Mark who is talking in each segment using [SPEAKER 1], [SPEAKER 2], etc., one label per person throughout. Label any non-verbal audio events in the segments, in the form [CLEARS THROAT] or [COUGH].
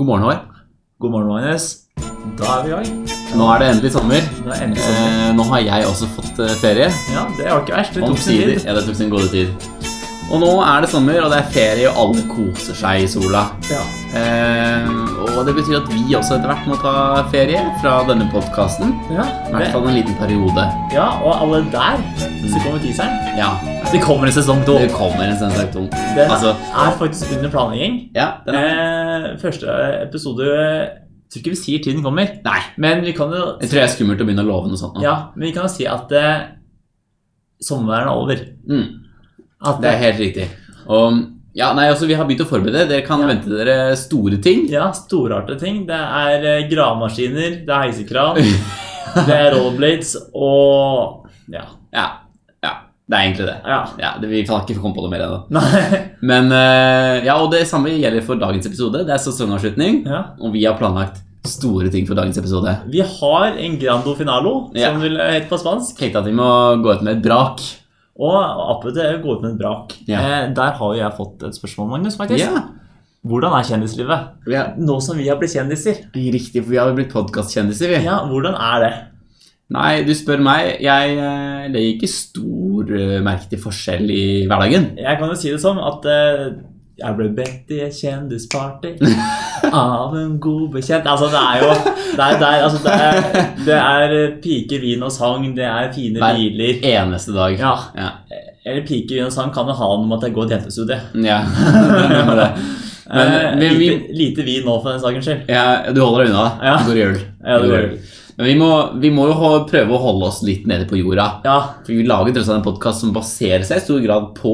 [SPEAKER 1] God morgen, Håvard.
[SPEAKER 2] God morgen, Magnus. Da er vi i gang.
[SPEAKER 1] Nå er det endelig sommer.
[SPEAKER 2] Nå er endelig sommer.
[SPEAKER 1] Eh, nå har jeg også fått eh, ferie.
[SPEAKER 2] Ja, det var ikke verst. Det tok sin
[SPEAKER 1] Omsider.
[SPEAKER 2] tid.
[SPEAKER 1] Ja, det tok sin gode tid. Og nå er det sommer, og det er ferie, og alle koser seg i sola.
[SPEAKER 2] Ja.
[SPEAKER 1] Eh, og det betyr at vi også etter hvert må ta ferie fra denne podkasten.
[SPEAKER 2] Ja,
[SPEAKER 1] I hvert
[SPEAKER 2] det,
[SPEAKER 1] fall en liten periode.
[SPEAKER 2] ja, og alle der, så kommer teaseren.
[SPEAKER 1] Ja,
[SPEAKER 2] Det kommer en sesong to.
[SPEAKER 1] det kommer en sensakt ung.
[SPEAKER 2] Den
[SPEAKER 1] Altså,
[SPEAKER 2] er faktisk under planlegging.
[SPEAKER 1] ja, den er
[SPEAKER 2] Eh, første episode Jeg tror ikke vi sier tiden kommer,
[SPEAKER 1] Nei.
[SPEAKER 2] men vi kan jo
[SPEAKER 1] Jeg tror det er skummelt å begynne å love noe sånt nå.
[SPEAKER 2] Ja, men vi kan jo si at eh, sommeren er over.
[SPEAKER 1] Mm,
[SPEAKER 2] At,
[SPEAKER 1] det er helt riktig. Og ja, nei, også, vi har begynt å forberede. Dere kan
[SPEAKER 2] Ja.
[SPEAKER 1] vente dere store ting. [LAUGHS]
[SPEAKER 2] Ja, storartede ting. Det er eh, gravemaskiner, det er heisekran, det er rollerblades og Ja.
[SPEAKER 1] Ja, ja det er egentlig det.
[SPEAKER 2] ja. [LAUGHS]
[SPEAKER 1] Ja, det, Vi kan ikke komme på noe mer ennå.
[SPEAKER 2] Nei.
[SPEAKER 1] Men eh, ja, og det samme gjelder for dagens episode. Det er sesongavslutning,
[SPEAKER 2] Ja.
[SPEAKER 1] og vi har planlagt store ting for dagens episode.
[SPEAKER 2] Vi har en grando finalo,
[SPEAKER 1] Ja.
[SPEAKER 2] som vil hete på spansk.
[SPEAKER 1] Tenkte at vi må gå ut med et brak.
[SPEAKER 2] Og apropos gå ut med et brak.
[SPEAKER 1] Ja.
[SPEAKER 2] Eh, der har jo jeg fått et spørsmål, Magnus. faktisk.
[SPEAKER 1] Ja,
[SPEAKER 2] Hvordan er kjendislivet?
[SPEAKER 1] ja.
[SPEAKER 2] Nå som vi har blitt kjendiser,
[SPEAKER 1] Riktig, for vi har jo blitt podkastkjendiser, vi.
[SPEAKER 2] ja, hvordan er det?
[SPEAKER 1] Nei, du spør meg. Jeg eh, legger ikke stor eh, merke til forskjell i hverdagen.
[SPEAKER 2] Jeg kan jo si det som at eh, jeg ble bedt i et
[SPEAKER 1] [LAUGHS]
[SPEAKER 2] kjendisparty av en god bekjent. Altså, det er jo Det er, det er, altså, det er, det er eh, piker, vin og sang, det er fine
[SPEAKER 1] Nei.
[SPEAKER 2] biler
[SPEAKER 1] Eneste dag.
[SPEAKER 2] Ja.
[SPEAKER 1] Ja.
[SPEAKER 2] Eller piker, vin og sang kan jo ha noe med at jeg går tjenestestudie.
[SPEAKER 1] Ja, [LAUGHS] det må det. Men,
[SPEAKER 2] Eh,
[SPEAKER 1] men vi,
[SPEAKER 2] lite, lite vin nå, for den sakens skyld.
[SPEAKER 1] ja, du holder deg unna.
[SPEAKER 2] Ja.
[SPEAKER 1] Det går i hjul.
[SPEAKER 2] Ja, det går i
[SPEAKER 1] Men vi må, vi må jo ho- prøve å holde oss litt nede på jorda.
[SPEAKER 2] Ja,
[SPEAKER 1] For vi lager tross alt en podkast som baserer seg i stor grad på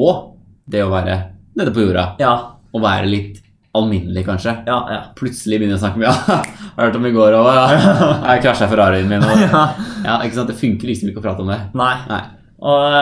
[SPEAKER 1] det å være nede på jorda.
[SPEAKER 2] ja.
[SPEAKER 1] Og være litt alminnelig, kanskje.
[SPEAKER 2] Ja, ja. [LAUGHS]
[SPEAKER 1] Plutselig begynner jeg å snakke med [LAUGHS] Ja, har hørt om i går òg, ja. Jeg krasja Ferrarien min og Ja, ikke sant. Det funker liksom ikke å prate om det.
[SPEAKER 2] Nei.
[SPEAKER 1] Nei,
[SPEAKER 2] Og,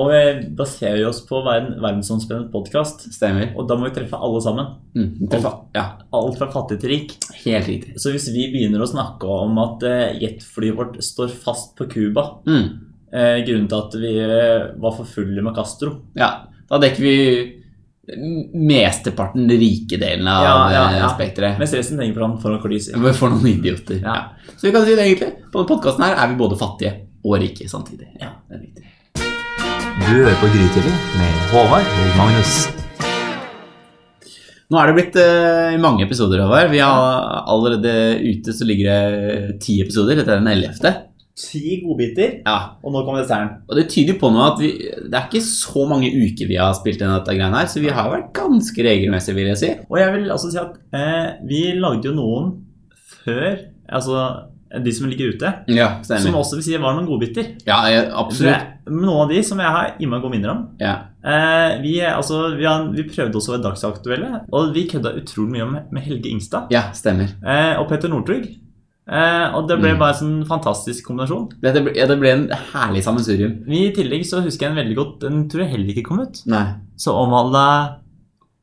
[SPEAKER 2] og vi baserer jo oss på verden, verdensomspennende podkast.
[SPEAKER 1] stemmer.
[SPEAKER 2] Og da må vi treffe alle sammen.
[SPEAKER 1] Mm, treff- ja,
[SPEAKER 2] Alt fra fattig til rik.
[SPEAKER 1] helt riktig.
[SPEAKER 2] Så hvis vi begynner å snakke om at eh, jetflyet vårt står fast på Cuba
[SPEAKER 1] Mm,
[SPEAKER 2] eh, Grunnen til at vi eh, var for fulle med Castro
[SPEAKER 1] ja. Da dekker vi mesteparten den rike delen av
[SPEAKER 2] Ja, ja, ja.
[SPEAKER 1] eh, spekteret.
[SPEAKER 2] Mens resten henger foran, foran kulisser.
[SPEAKER 1] Men For noen idioter.
[SPEAKER 2] Ja.
[SPEAKER 1] Ja. Så vi kan si det egentlig. På denne podkasten her er vi både fattige og rike samtidig. Ja, det er viktig.
[SPEAKER 3] Du hører på Grytidlig med Håvard og Magnus.
[SPEAKER 1] Nå er det blitt eh, mange episoder over. Vi har allerede ute så ligger det eh, ti episoder. Dette er den ellevte.
[SPEAKER 2] Ti godbiter,
[SPEAKER 1] Ja.
[SPEAKER 2] og nå kommer desserten.
[SPEAKER 1] Og det tyder på nå at vi, det er ikke så mange uker vi har spilt inn dette greiene her, så vi har vært ganske regelmessige, vil jeg si.
[SPEAKER 2] Og jeg vil også si at eh, vi lagde jo noen før Altså de som ligger ute.
[SPEAKER 1] Ja,
[SPEAKER 2] Som
[SPEAKER 1] stemmer.
[SPEAKER 2] også vil si var noen godbiter.
[SPEAKER 1] Ja, jeg- absolutt.
[SPEAKER 2] Det- Noen av de som jeg har innmari gode minner om.
[SPEAKER 1] Ja.
[SPEAKER 2] Eh, vi, altså, vi, har, vi prøvde også å være dagsaktuelle, og vi kødda utrolig mye om, med Helge Ingstad
[SPEAKER 1] ja, stemmer.
[SPEAKER 2] eh, og Petter Northug. Eh, og det ble
[SPEAKER 1] Mm.
[SPEAKER 2] bare en sånn fantastisk kombinasjon.
[SPEAKER 1] Dette ble, ja, det ble en herlig sammensurium.
[SPEAKER 2] Vi, I tillegg så husker jeg en veldig godt Den tror jeg heller ikke kom ut.
[SPEAKER 1] Nei.
[SPEAKER 2] Så omhandla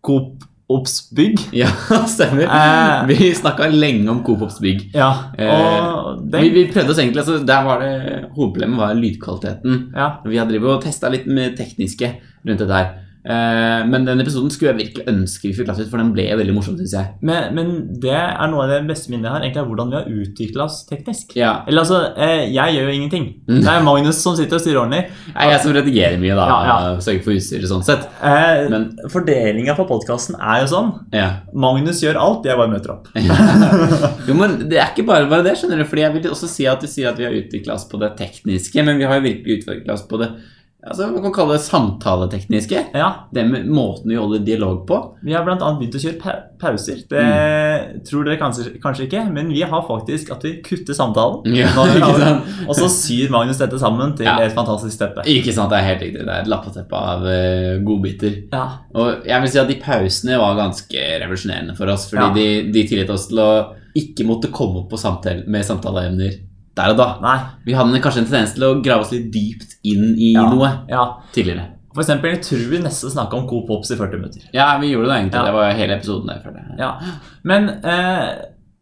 [SPEAKER 2] Coop Ops bygg.
[SPEAKER 1] Ja, [LAUGHS] stemmer.
[SPEAKER 2] Eh.
[SPEAKER 1] Vi snakka lenge om Coop Ops bygg.
[SPEAKER 2] Ja,
[SPEAKER 1] Eh,
[SPEAKER 2] og
[SPEAKER 1] Vi,
[SPEAKER 2] den
[SPEAKER 1] vi prøvde oss egentlig, altså, der var det, Hovedproblemet var lydkvaliteten.
[SPEAKER 2] ja,
[SPEAKER 1] Vi har drevet og testa litt med tekniske rundt dette her. Eh, men den episoden skulle jeg virkelig ønske vi fikk lagt ut, for den ble veldig morsom, syns jeg.
[SPEAKER 2] men, men det er noe av det beste minnet jeg har, egentlig er hvordan vi har utvikla oss teknisk.
[SPEAKER 1] Ja.
[SPEAKER 2] Eller altså, eh, jeg gjør jo ingenting.
[SPEAKER 1] Mm.
[SPEAKER 2] Det er Magnus som sitter og styrer ordentlig.
[SPEAKER 1] Det er jeg som redigerer mye, da.
[SPEAKER 2] Ja,
[SPEAKER 1] Sørger for utstyret sånn sett.
[SPEAKER 2] Eh,
[SPEAKER 1] Men
[SPEAKER 2] Fordelinga på podkasten er jo sånn.
[SPEAKER 1] [LAUGHS] ja.
[SPEAKER 2] Magnus gjør alt, jeg bare møter opp.
[SPEAKER 1] Jo, men det er ikke bare, bare det, skjønner du. Fordi jeg vil også si at du sier at vi har utvikla oss på det tekniske, men vi har jo virkelig utvikla oss på det altså, man kan kalle det samtaletekniske.
[SPEAKER 2] Ja,
[SPEAKER 1] Det med måten vi holder dialog på.
[SPEAKER 2] Vi har bl.a. begynt å kjøre pau- pauser. Det tror dere kanskje, kanskje ikke, men vi har faktisk at vi kutter samtalen. Når vi
[SPEAKER 1] ikke
[SPEAKER 2] har-
[SPEAKER 1] sant?
[SPEAKER 2] Og så syr Magnus dette sammen til
[SPEAKER 1] Ja.
[SPEAKER 2] et fantastisk teppe.
[SPEAKER 1] Ikke sant, det er helt riktig. Det er et lappeteppe av eh, godbiter.
[SPEAKER 2] Ja.
[SPEAKER 1] Og jeg vil si at de pausene var ganske revolusjonerende for oss, fordi
[SPEAKER 2] Ja.
[SPEAKER 1] de, de tillot oss til å ikke måtte komme opp på samtale, med samtaleemner der og da.
[SPEAKER 2] Nei.
[SPEAKER 1] Vi hadde en- kanskje en tendens til å grave oss litt dypt inn i
[SPEAKER 2] Ja.
[SPEAKER 1] noe
[SPEAKER 2] Ja.
[SPEAKER 1] tidligere.
[SPEAKER 2] For eksempel, jeg tror vi nesten snakka om Coop Ops i 40 minutter.
[SPEAKER 1] Ja, vi gjorde det egentlig.
[SPEAKER 2] Ja.
[SPEAKER 1] Det var hele episoden der. føler jeg.
[SPEAKER 2] Ja. Men eh,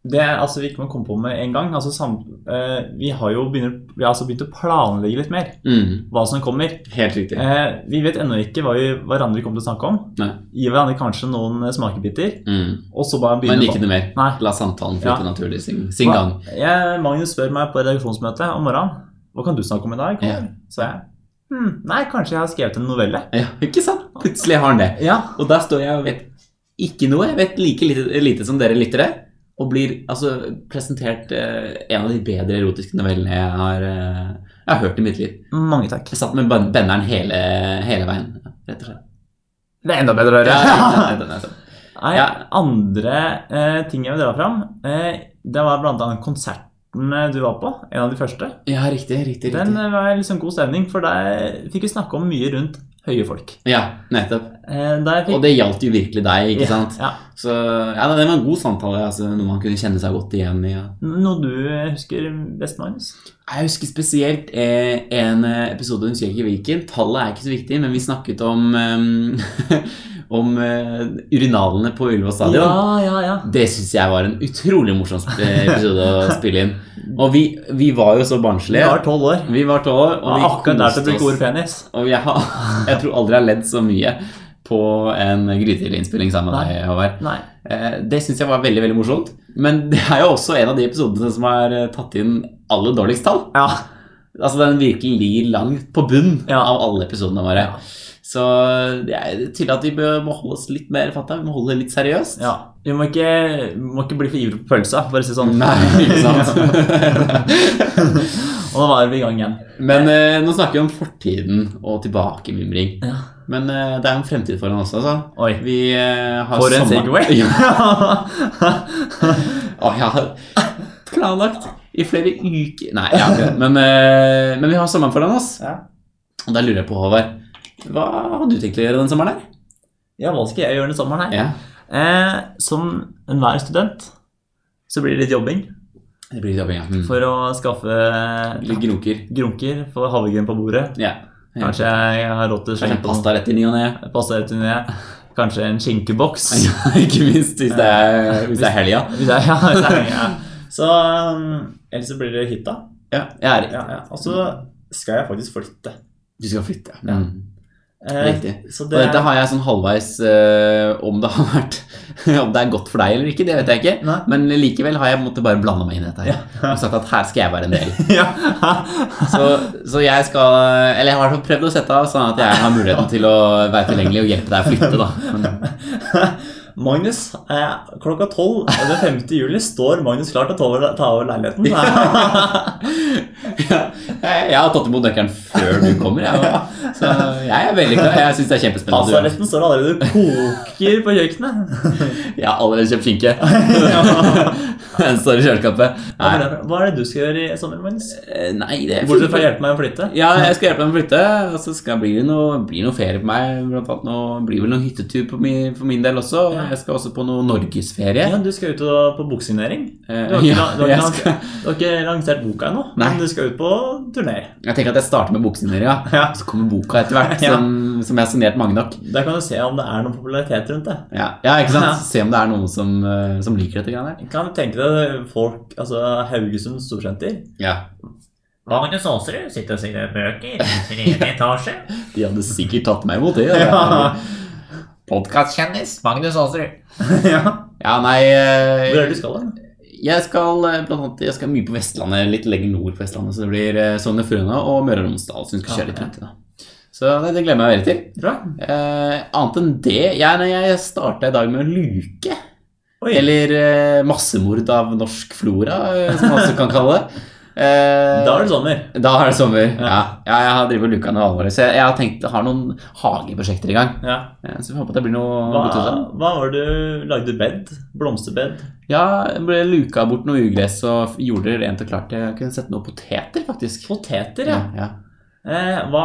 [SPEAKER 2] Det er altså vi ikke må komme på med en gang. Altså, sam, eh, vi har jo begynner, vi har altså begynt å planlegge litt mer
[SPEAKER 1] Mm,
[SPEAKER 2] hva som kommer.
[SPEAKER 1] helt riktig.
[SPEAKER 2] Eh, vi vet ennå ikke hva vi hverandre kommer til å snakke om.
[SPEAKER 1] Nei.
[SPEAKER 2] Gi hverandre kanskje noen eh, smakebiter,
[SPEAKER 1] Mm.
[SPEAKER 2] og så bare
[SPEAKER 1] Men
[SPEAKER 2] begynne
[SPEAKER 1] ikke noe mer.
[SPEAKER 2] Nei.
[SPEAKER 1] La samtalen flyte
[SPEAKER 2] Ja.
[SPEAKER 1] naturlig sin, sin gang.
[SPEAKER 2] Jeg, Magnus spør meg på redaksjonsmøtet om morgenen hva kan du snakke om i dag.
[SPEAKER 1] Ja.
[SPEAKER 2] Så jeg hm, nei, kanskje jeg har skrevet en novelle.
[SPEAKER 1] Ja, ikke sant? Plutselig har han det.
[SPEAKER 2] Ja,
[SPEAKER 1] Og der står jeg og vet ikke noe. Jeg vet like lite, lite som dere lyttere. Og blir altså presentert eh, en av de bedre erotiske novellene jeg har, eh, jeg har hørt i mitt liv.
[SPEAKER 2] Mange takk.
[SPEAKER 1] Jeg satt med ben- benneren hele, hele veien, ja, rett og slett.
[SPEAKER 2] Det er enda [LAUGHS] bedre å
[SPEAKER 1] Ja,
[SPEAKER 2] høre.
[SPEAKER 1] den er sånn.
[SPEAKER 2] Nei,
[SPEAKER 1] Ja.
[SPEAKER 2] Andre eh, ting jeg vil dra fram, eh, det var blant annet konserten du var på. En av de første.
[SPEAKER 1] ja riktig, riktig. riktig.
[SPEAKER 2] Den eh, var liksom god stemning, for der fikk vi snakke om mye rundt høye folk.
[SPEAKER 1] Ja, nettopp.
[SPEAKER 2] Eh, der fikk,
[SPEAKER 1] Og det gjaldt jo virkelig deg, ikke sant?
[SPEAKER 2] Ja.
[SPEAKER 1] Så ja, det var en god samtale, altså, noe man kunne kjenne seg godt igjen i. Ja.
[SPEAKER 2] Noe du husker best, Magnus?
[SPEAKER 1] Jeg husker spesielt eh, en eh, episode, hun husker ikke hvilken, tallet er ikke så viktig, men vi snakket om, eh, [LAUGHS] om eh, urinalene på Ullevål stadion.
[SPEAKER 2] Ja, ja, ja.
[SPEAKER 1] Det syns jeg var en utrolig morsom sp- episode å spille inn. Og vi, vi var jo så
[SPEAKER 2] Vi
[SPEAKER 1] barnslige.
[SPEAKER 2] var tolv år.
[SPEAKER 1] Vi var tolv år, og
[SPEAKER 2] Og
[SPEAKER 1] vi
[SPEAKER 2] akkurat der til å
[SPEAKER 1] koste
[SPEAKER 2] bruke
[SPEAKER 1] oss.
[SPEAKER 2] ordet penis.
[SPEAKER 1] Og jeg, har, jeg tror aldri jeg har ledd så mye på en grytidlinnspilling sammen med deg, Håvard.
[SPEAKER 2] Nei.
[SPEAKER 1] Eh, Det syns jeg var veldig veldig morsomt. Men det er jo også en av de episodene som har eh, tatt inn aller dårligst tall.
[SPEAKER 2] Ja.
[SPEAKER 1] Altså Den virkelig langt på bunn
[SPEAKER 2] Ja.
[SPEAKER 1] av alle episodene våre.
[SPEAKER 2] Ja.
[SPEAKER 1] Så det er tydelig at vi bør- må holde oss litt mer fatta. Vi må holde det litt seriøst.
[SPEAKER 2] ja. Vi må ikke, må ikke bli for ivrig på pølsa, for å si det sånn.
[SPEAKER 1] Nei, ikke
[SPEAKER 2] [LAUGHS]
[SPEAKER 1] sant?
[SPEAKER 2] og da var vi i gang igjen.
[SPEAKER 1] Men eh, nå snakker vi om fortiden og tilbakevimring.
[SPEAKER 2] Ja.
[SPEAKER 1] Men eh, det er jo en fremtid foran oss, altså.
[SPEAKER 2] Oi.
[SPEAKER 1] Vi eh, har
[SPEAKER 2] For en
[SPEAKER 1] sommer-
[SPEAKER 2] segway!
[SPEAKER 1] [LAUGHS] Ja, og jeg har planlagt i flere uker Nei, jeg har
[SPEAKER 2] [LAUGHS]
[SPEAKER 1] ikke det. Men, eh, men vi har sommeren foran oss.
[SPEAKER 2] [LAUGHS] Ja.
[SPEAKER 1] Og da lurer jeg på, Håvard, hva hadde du tenkt å gjøre den sommeren her?
[SPEAKER 2] ja, hva skal jeg gjøre denne sommeren her?
[SPEAKER 1] Ja,
[SPEAKER 2] Eh, som enhver student så blir det litt jobbing
[SPEAKER 1] det blir jobbing, ja. Mm.
[SPEAKER 2] for å skaffe
[SPEAKER 1] Litt grunker.
[SPEAKER 2] grunker, få havregryn på bordet.
[SPEAKER 1] Ja.
[SPEAKER 2] Kanskje jeg har råd til
[SPEAKER 1] Kanskje en pasta rett i ny og ne.
[SPEAKER 2] Pasta rett inn i det. Kanskje en skinkeboks.
[SPEAKER 1] Ja, [LAUGHS] ikke minst hvis det er, hvis det er helga.
[SPEAKER 2] Hvis jeg- [LAUGHS] ja, hvis jeg- ja. Så um, Ellers så blir det hytta.
[SPEAKER 1] Ja, jeg er
[SPEAKER 2] Ja, Og så skal jeg faktisk flytte.
[SPEAKER 1] Du skal flytte, ja.
[SPEAKER 2] Ja.
[SPEAKER 1] Mm.
[SPEAKER 2] Eh,
[SPEAKER 1] Riktig. Og
[SPEAKER 2] Så det
[SPEAKER 1] dette har jeg sånn halvveis eh, Om det har vært [LAUGHS] Om det er godt for deg eller ikke, det vet jeg ikke.
[SPEAKER 2] Nei.
[SPEAKER 1] Men likevel har jeg på en måte bare blanda meg inn i dette her. Og sagt at her skal jeg være en del.
[SPEAKER 2] [LAUGHS] ja. [LAUGHS]
[SPEAKER 1] Så, så jeg skal Eller jeg har i hvert fall prøvd å sette av sånn at jeg har muligheten til å være tilgjengelig og hjelpe deg å flytte, da. Men, [LAUGHS]
[SPEAKER 2] Magnus, eh, klokka tolv den 5. juli står Magnus klar til å ta over, ta over leiligheten. [LAUGHS]
[SPEAKER 1] ja, jeg, jeg har tatt imot nøkkelen før du kommer, jeg. og- Så jeg er veldig klar. Jeg syns det er kjempespennende. å gjøre.
[SPEAKER 2] Pastaretten står allerede og koker på kjøkkenet.
[SPEAKER 1] Jeg har allerede kjøpt
[SPEAKER 2] [LAUGHS]
[SPEAKER 1] skinke. [LAUGHS] Den står i kjøleskapet.
[SPEAKER 2] Hva
[SPEAKER 1] Nei,
[SPEAKER 2] er det- Hva er det du skal gjøre i sommer, Magnus?
[SPEAKER 1] eh, nei det er
[SPEAKER 2] Bortsett fra å hjelpe meg å flytte?
[SPEAKER 1] Ja, jeg skal hjelpe dem å flytte. Og så skal, blir det noe, blir noe ferie på meg. Blant annet noe, blir vel noen hyttetur på min, for min del også. Og jeg skal også på noe norgesferie.
[SPEAKER 2] Ja, du skal ut og, på boksignering.
[SPEAKER 1] Eh,
[SPEAKER 2] Du har ikke,
[SPEAKER 1] ja,
[SPEAKER 2] du har
[SPEAKER 1] jeg
[SPEAKER 2] ikke,
[SPEAKER 1] skal-
[SPEAKER 2] du har ikke lansert boka ennå,
[SPEAKER 1] Nei.
[SPEAKER 2] men du skal ut på turné.
[SPEAKER 1] Jeg tenker at jeg starter med boksigneringa,
[SPEAKER 2] Ja.
[SPEAKER 1] så kommer boka etter hvert.
[SPEAKER 2] [LAUGHS] Ja.
[SPEAKER 1] Som, som jeg har signert mange nok.
[SPEAKER 2] Der kan du se om det er noen popularitet rundt det.
[SPEAKER 1] Ja, ja ikke
[SPEAKER 2] Ja.
[SPEAKER 1] sant? Se om det er noen som, eh, som liker dette. greiene her.
[SPEAKER 2] Kan du tenke deg folk Altså Haugesund Storsenter.
[SPEAKER 1] Ja,
[SPEAKER 4] Magnus Aasrud sitter og signerer bøker i sin egen etasje.
[SPEAKER 1] De hadde sikkert tatt meg imot det.
[SPEAKER 2] [LAUGHS] Ja.
[SPEAKER 4] Podkastkjendis Magnus Aasrud.
[SPEAKER 2] [LAUGHS] ja.
[SPEAKER 1] ja, nei eh,
[SPEAKER 2] Hvor er det du skal hen?
[SPEAKER 1] Jeg skal eh, blant annet, jeg skal mye på Vestlandet, litt lenger nord på Vestlandet. Så det blir eh, Sogn og Frøyane og Møre og Romsdal. Så hun skal
[SPEAKER 2] Ja,
[SPEAKER 1] kjøre litt
[SPEAKER 2] ja.
[SPEAKER 1] rundt i dag. Så det, det gleder jeg meg veldig til.
[SPEAKER 2] Bra.
[SPEAKER 1] Eh, annet enn det Jeg, nei, jeg starta i dag med å luke.
[SPEAKER 2] Oi.
[SPEAKER 1] Eller eh, massemord av norsk flora, eh, som man også kan kalle
[SPEAKER 2] [LAUGHS]
[SPEAKER 1] det. Eh,
[SPEAKER 2] Da er det sommer.
[SPEAKER 1] da er det sommer.
[SPEAKER 2] Ja.
[SPEAKER 1] Ja. ja jeg har drevet og luka noe alvorlig. Så jeg, jeg har tenkt jeg har noen hageprosjekter i gang.
[SPEAKER 2] Ja.
[SPEAKER 1] Eh, Så vi håper at det blir noe
[SPEAKER 2] Hva,
[SPEAKER 1] godt ut av det.
[SPEAKER 2] hva var det du lagde bed? Blomsterbed?
[SPEAKER 1] Ja, jeg ble luka bort noe ugress og gjorde det rent og klart. Jeg kunne sette noen poteter, faktisk.
[SPEAKER 2] Poteter, ja.
[SPEAKER 1] Ja, ja.
[SPEAKER 2] Eh, hva,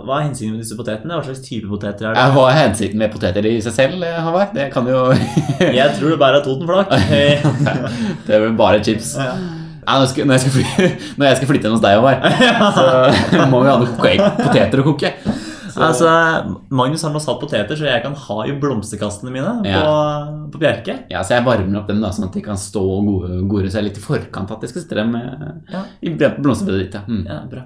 [SPEAKER 2] hva er hensikten med disse potetene? Hva slags type poteter er det?
[SPEAKER 1] Ja, Hva er hensikten med poteter i seg selv, eh, Håvard? Det kan jo [LAUGHS]
[SPEAKER 2] Jeg tror det bare er Totenflak.
[SPEAKER 1] Det er vel bare chips.
[SPEAKER 2] Ja.
[SPEAKER 1] Nei, når, jeg skal, når, jeg skal
[SPEAKER 2] [LAUGHS]
[SPEAKER 1] fly, når jeg skal flytte hjem hos deg, Håvard, så må vi ha noe koke- poteter å koke.
[SPEAKER 2] Altså, Magnus har nå salt poteter, så jeg kan ha i blomsterkastene mine på, på Bjerke.
[SPEAKER 1] Ja, så jeg varmer opp dem da, sånn at de kan stå og gode- gore seg litt i forkant at jeg skal sitte dem eh,
[SPEAKER 2] Ja.
[SPEAKER 1] i blomsterbedet ditt. Ja. Mm.
[SPEAKER 2] Ja, bra.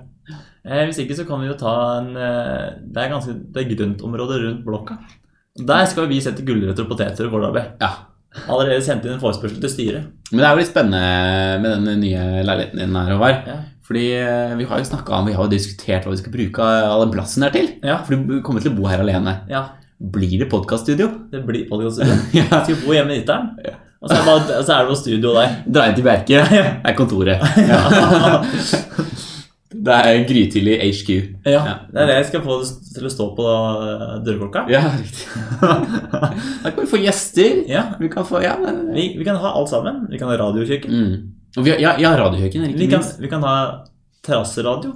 [SPEAKER 2] Eh, hvis ikke så kan vi jo ta en eh, Det er ganske det er grøntområdet rundt blokka. Der skal vi sette gulrøtter og poteter foreløpig.
[SPEAKER 1] Ja.
[SPEAKER 2] Allerede sendt inn en forespørsel til styret.
[SPEAKER 1] Men det er jo litt spennende med den nye leiligheten din her, Håvard.
[SPEAKER 2] Ja.
[SPEAKER 1] Fordi eh, vi har jo snakket om, vi har jo diskutert hva vi skal bruke all den plassen her til.
[SPEAKER 2] Ja.
[SPEAKER 1] For du kommer til å bo her alene.
[SPEAKER 2] Ja,
[SPEAKER 1] Blir det podcaststudio?
[SPEAKER 2] det blir podkaststudio.
[SPEAKER 1] [LAUGHS] Ja.
[SPEAKER 2] Skal bo hjemme i Nitteren, og så er det bare- og så er det bare studio der.
[SPEAKER 1] Dra inn til Bjerke. Det er [LAUGHS] kontoret. Det er grytidlig HQ.
[SPEAKER 2] [LAUGHS] Ja,
[SPEAKER 1] Ja.
[SPEAKER 2] det er det jeg skal få det til å stå på eh, dørklokka.
[SPEAKER 1] Ja, riktig. [LAUGHS] Da kan vi få gjester.
[SPEAKER 2] Ja,
[SPEAKER 1] Vi kan få Ja, men
[SPEAKER 2] vi, vi kan ha alt sammen. Vi kan ha radiokjøkken.
[SPEAKER 1] Mm. Og vi har, ja, ja radiohøken er ikke
[SPEAKER 2] Vi kan,
[SPEAKER 1] minst.
[SPEAKER 2] vi kan ha terrasseradio.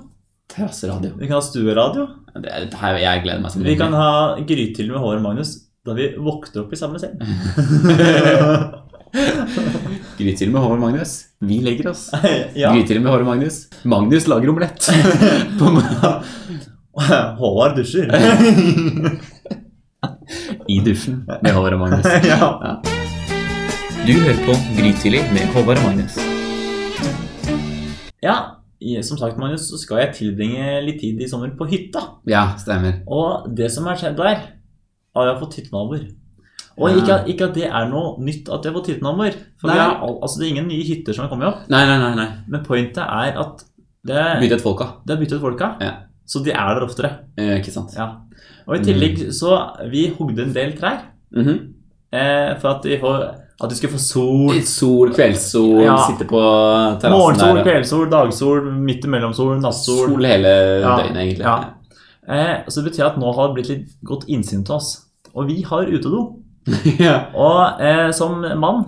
[SPEAKER 1] Terrasseradio.
[SPEAKER 2] Vi kan ha stueradio.
[SPEAKER 1] Det er- Dette her, jeg gleder meg som
[SPEAKER 2] Vi kan ha grythylle med Håvard og Magnus da vi våkner opp i samme
[SPEAKER 1] [LAUGHS]
[SPEAKER 2] seng.
[SPEAKER 1] Grytidlig med Håvard Magnus. Vi legger [LAUGHS] oss.
[SPEAKER 2] ja.
[SPEAKER 1] Grytidlig med Håvard Magnus. Magnus lager [LAUGHS] omelett. På ma-
[SPEAKER 2] [LAUGHS] Håvard
[SPEAKER 1] [LAUGHS]
[SPEAKER 2] dusjer.
[SPEAKER 1] I dusjen med Håvard og Magnus. [LAUGHS]
[SPEAKER 2] ja.
[SPEAKER 1] Du hører på Grytidlig med Håvard og Magnus.
[SPEAKER 2] ja. i- Som sagt, Magnus, så skal jeg tilbringe litt tid i sommer på hytta.
[SPEAKER 1] Ja, stemmer.
[SPEAKER 2] Og det som har skjedd der, er at jeg har fått hyttenaboer. Og
[SPEAKER 1] Ja.
[SPEAKER 2] ikke, at- ikke at det er noe nytt at jeg har fått hyttenaboer. For vi
[SPEAKER 1] Nei.
[SPEAKER 2] har, al- altså, det er ingen nye hytter som har kommet opp.
[SPEAKER 1] Nei, nei, nei. nei.
[SPEAKER 2] Men pointet er at det,
[SPEAKER 1] Byttet folka.
[SPEAKER 2] det har byttet folka.
[SPEAKER 1] Ja.
[SPEAKER 2] Så de er der oftere.
[SPEAKER 1] Eh, ikke sant.
[SPEAKER 2] Ja. Og i tillegg
[SPEAKER 1] Mm.
[SPEAKER 2] så Vi hogde en del trær
[SPEAKER 1] Mhm.
[SPEAKER 2] eh, for at de, får, at de skulle få sol.
[SPEAKER 1] Litt Sol, kveldssol,
[SPEAKER 2] Ja.
[SPEAKER 1] sitte på terrassen
[SPEAKER 2] Morgensol,
[SPEAKER 1] der.
[SPEAKER 2] kveldssol, dagsol, midt imellomsol, nattsol.
[SPEAKER 1] Sol hele
[SPEAKER 2] Ja.
[SPEAKER 1] døgnet, egentlig.
[SPEAKER 2] Ja. Eh, så det betyr at nå har det blitt litt godt innsyn til oss. Og vi har utedo.
[SPEAKER 1] [LAUGHS] ja.
[SPEAKER 2] Og eh, som mann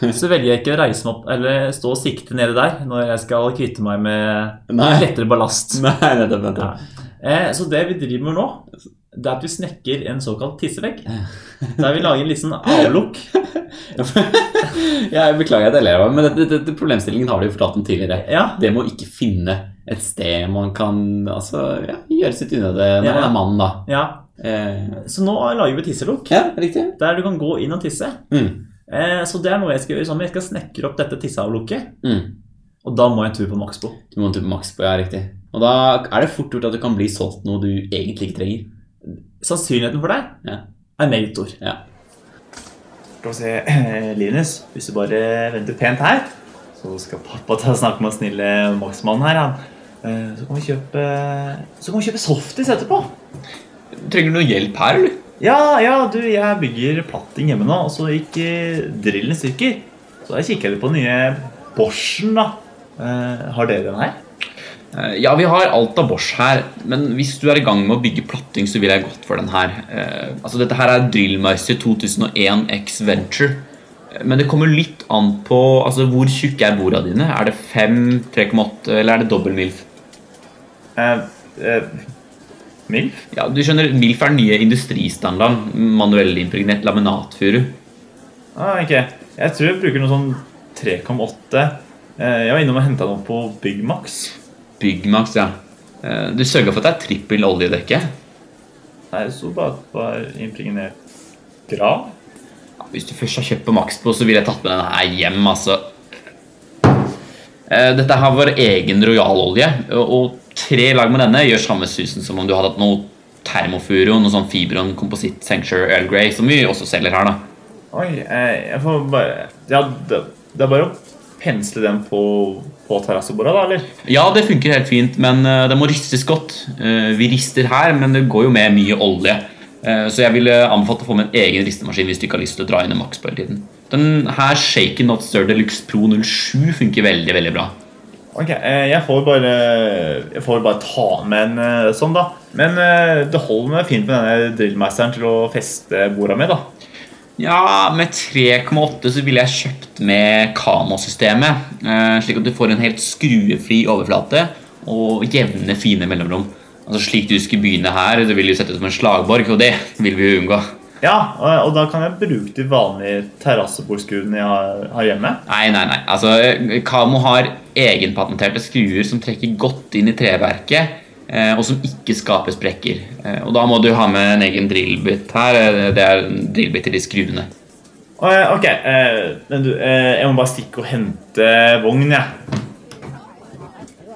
[SPEAKER 2] så velger jeg ikke å reise meg opp eller stå og sikte nede der når jeg skal kvitte meg
[SPEAKER 1] [LAUGHS]
[SPEAKER 2] med
[SPEAKER 1] Nei.
[SPEAKER 2] lettere ballast.
[SPEAKER 1] Nei, nettopp. nettopp.
[SPEAKER 2] Eh, så det vi driver med nå, det er at vi snekker en såkalt tissevegg. Der vi lager en liten avlukk.
[SPEAKER 1] [LAUGHS] Jeg beklager at jeg ler av det, men dette, dette problemstillingen har du jo fortalt om tidligere.
[SPEAKER 2] Ja,
[SPEAKER 1] Det med å ikke finne et sted man kan altså, ja, gjøre sitt unøde når
[SPEAKER 2] Ja.
[SPEAKER 1] man er mann, da.
[SPEAKER 2] ja.
[SPEAKER 1] Eh,
[SPEAKER 2] Så nå lager vi tisselukk
[SPEAKER 1] ja, riktig.
[SPEAKER 2] der du kan gå inn og tisse.
[SPEAKER 1] Mm.
[SPEAKER 2] Eh, så det er noe jeg skal gjøre sammen. Jeg skal snekre opp dette tisseavlukket.
[SPEAKER 1] Mm.
[SPEAKER 2] Og da må jeg en tur på Maxbo.
[SPEAKER 1] Du må en tur på maks på, ja, riktig. Og da er det fort gjort at du kan bli solgt noe du egentlig ikke trenger.
[SPEAKER 2] Sannsynligheten for deg
[SPEAKER 1] Ja.
[SPEAKER 2] er meget stor.
[SPEAKER 5] Skal vi se, eh, Linus, hvis du bare venter pent her, så skal pappa ta og snakke med snille Maxmannen her, han. Eh, Så kan vi kjøpe, så kan vi kjøpe softis etterpå.
[SPEAKER 3] Trenger du noe hjelp her, eller?
[SPEAKER 5] Ja, ja, du, jeg bygger platting hjemme nå, og så gikk eh, drillen i stykker. Så jeg kikker litt på den nye Borsen, da. Eh, har dere den her?
[SPEAKER 3] Eh, Ja, vi har Alta Bosch her, men hvis du er i gang med å bygge platting, så vil jeg godt for den her. Eh, altså, dette her er Drillmeister 2001 X Venture. Eh, Men det kommer litt an på altså, hvor tjukke er borda dine. Er det 5, 3,8 eller er det dobbel MILF?
[SPEAKER 5] Eh, eh, Milf?
[SPEAKER 3] Ja, du skjønner, MILF er den nye industristandarden. Manuellimpregnert laminatfuru.
[SPEAKER 5] Ah, ok. Jeg tror jeg bruker noe sånn 3,8. Eh, jeg var innom og hentet den opp på Byggmax.
[SPEAKER 3] Byggmax, ja. Eh, Du sørga for at det er trippel oljedekke?
[SPEAKER 5] Nei, det sto bare at det var impregnert grav.
[SPEAKER 3] Hvis du først har kjøpt på Maxbo, så ville jeg tatt med den her hjem, altså. Eh, Dette her var egen rojalolje, og tre lag med denne gjør samme susen som om du hadde hatt noe termofuro, noe sånn fibron composite sancture earl grey, som vi også selger her, da.
[SPEAKER 5] Oi, eh, jeg får bare Ja, det, det er bare å pensle den på, på terrassebordet, da, eller?
[SPEAKER 3] Ja, det funker helt fint, men eh, det må ristes godt. Eh, Vi rister her, men det går jo med mye olje. Eh, Så jeg ville anbefalt å få med en egen ristemaskin hvis du ikke har lyst til å dra inn en Maxbo hele tiden. Den her Shake Not Stir Deluxe Pro 07 funker veldig, veldig bra.
[SPEAKER 5] Ok, eh, jeg får bare Jeg får bare ta med en eh, sånn, da. Men eh, det holder meg fint med denne drillmeisteren til å feste borda med, da.
[SPEAKER 3] Ja, med 3,8 så ville jeg kjøpt med Kamo-systemet. eh, Slik at du får en helt skruefri overflate og jevne, fine mellomrom. Altså Slik du skulle begynne her, det ville jo sett ut som en slagborg, og det vil vi jo unngå.
[SPEAKER 5] Ja, og, og da kan jeg bruke de vanlige terrassebordskrudene jeg har, har hjemme.
[SPEAKER 3] Nei, nei, eh, nei. Altså, Kamo har egenpatenterte skruer som trekker godt inn i treverket. eh, og som ikke skaper sprekker. Eh, Og da må du ha med en egen drillbit her. eh, Det er en drillbit til de skruene.
[SPEAKER 5] Eh, Ok, eh, men du, eh, jeg må bare stikke og hente vogn, jeg.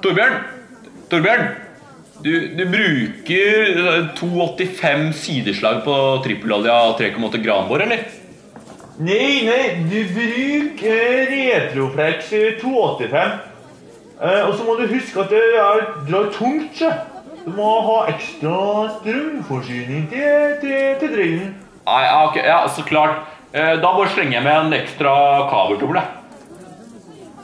[SPEAKER 3] Torbjørn! Torbjørn! Du, du bruker 2,85 sideslag på trippelolja og 3,8 granbor, eller?
[SPEAKER 5] Nei, nei, du bruk eh, Retroflex eh, 285. Eh, og så må du huske at det er, drar tungt, så. Du må ha ekstra strømforsyning til, til, til drillen.
[SPEAKER 3] Nei, ja, ok, ja, så klart. Eh, Da bare slenger jeg med en ekstra kabeltobel. jeg.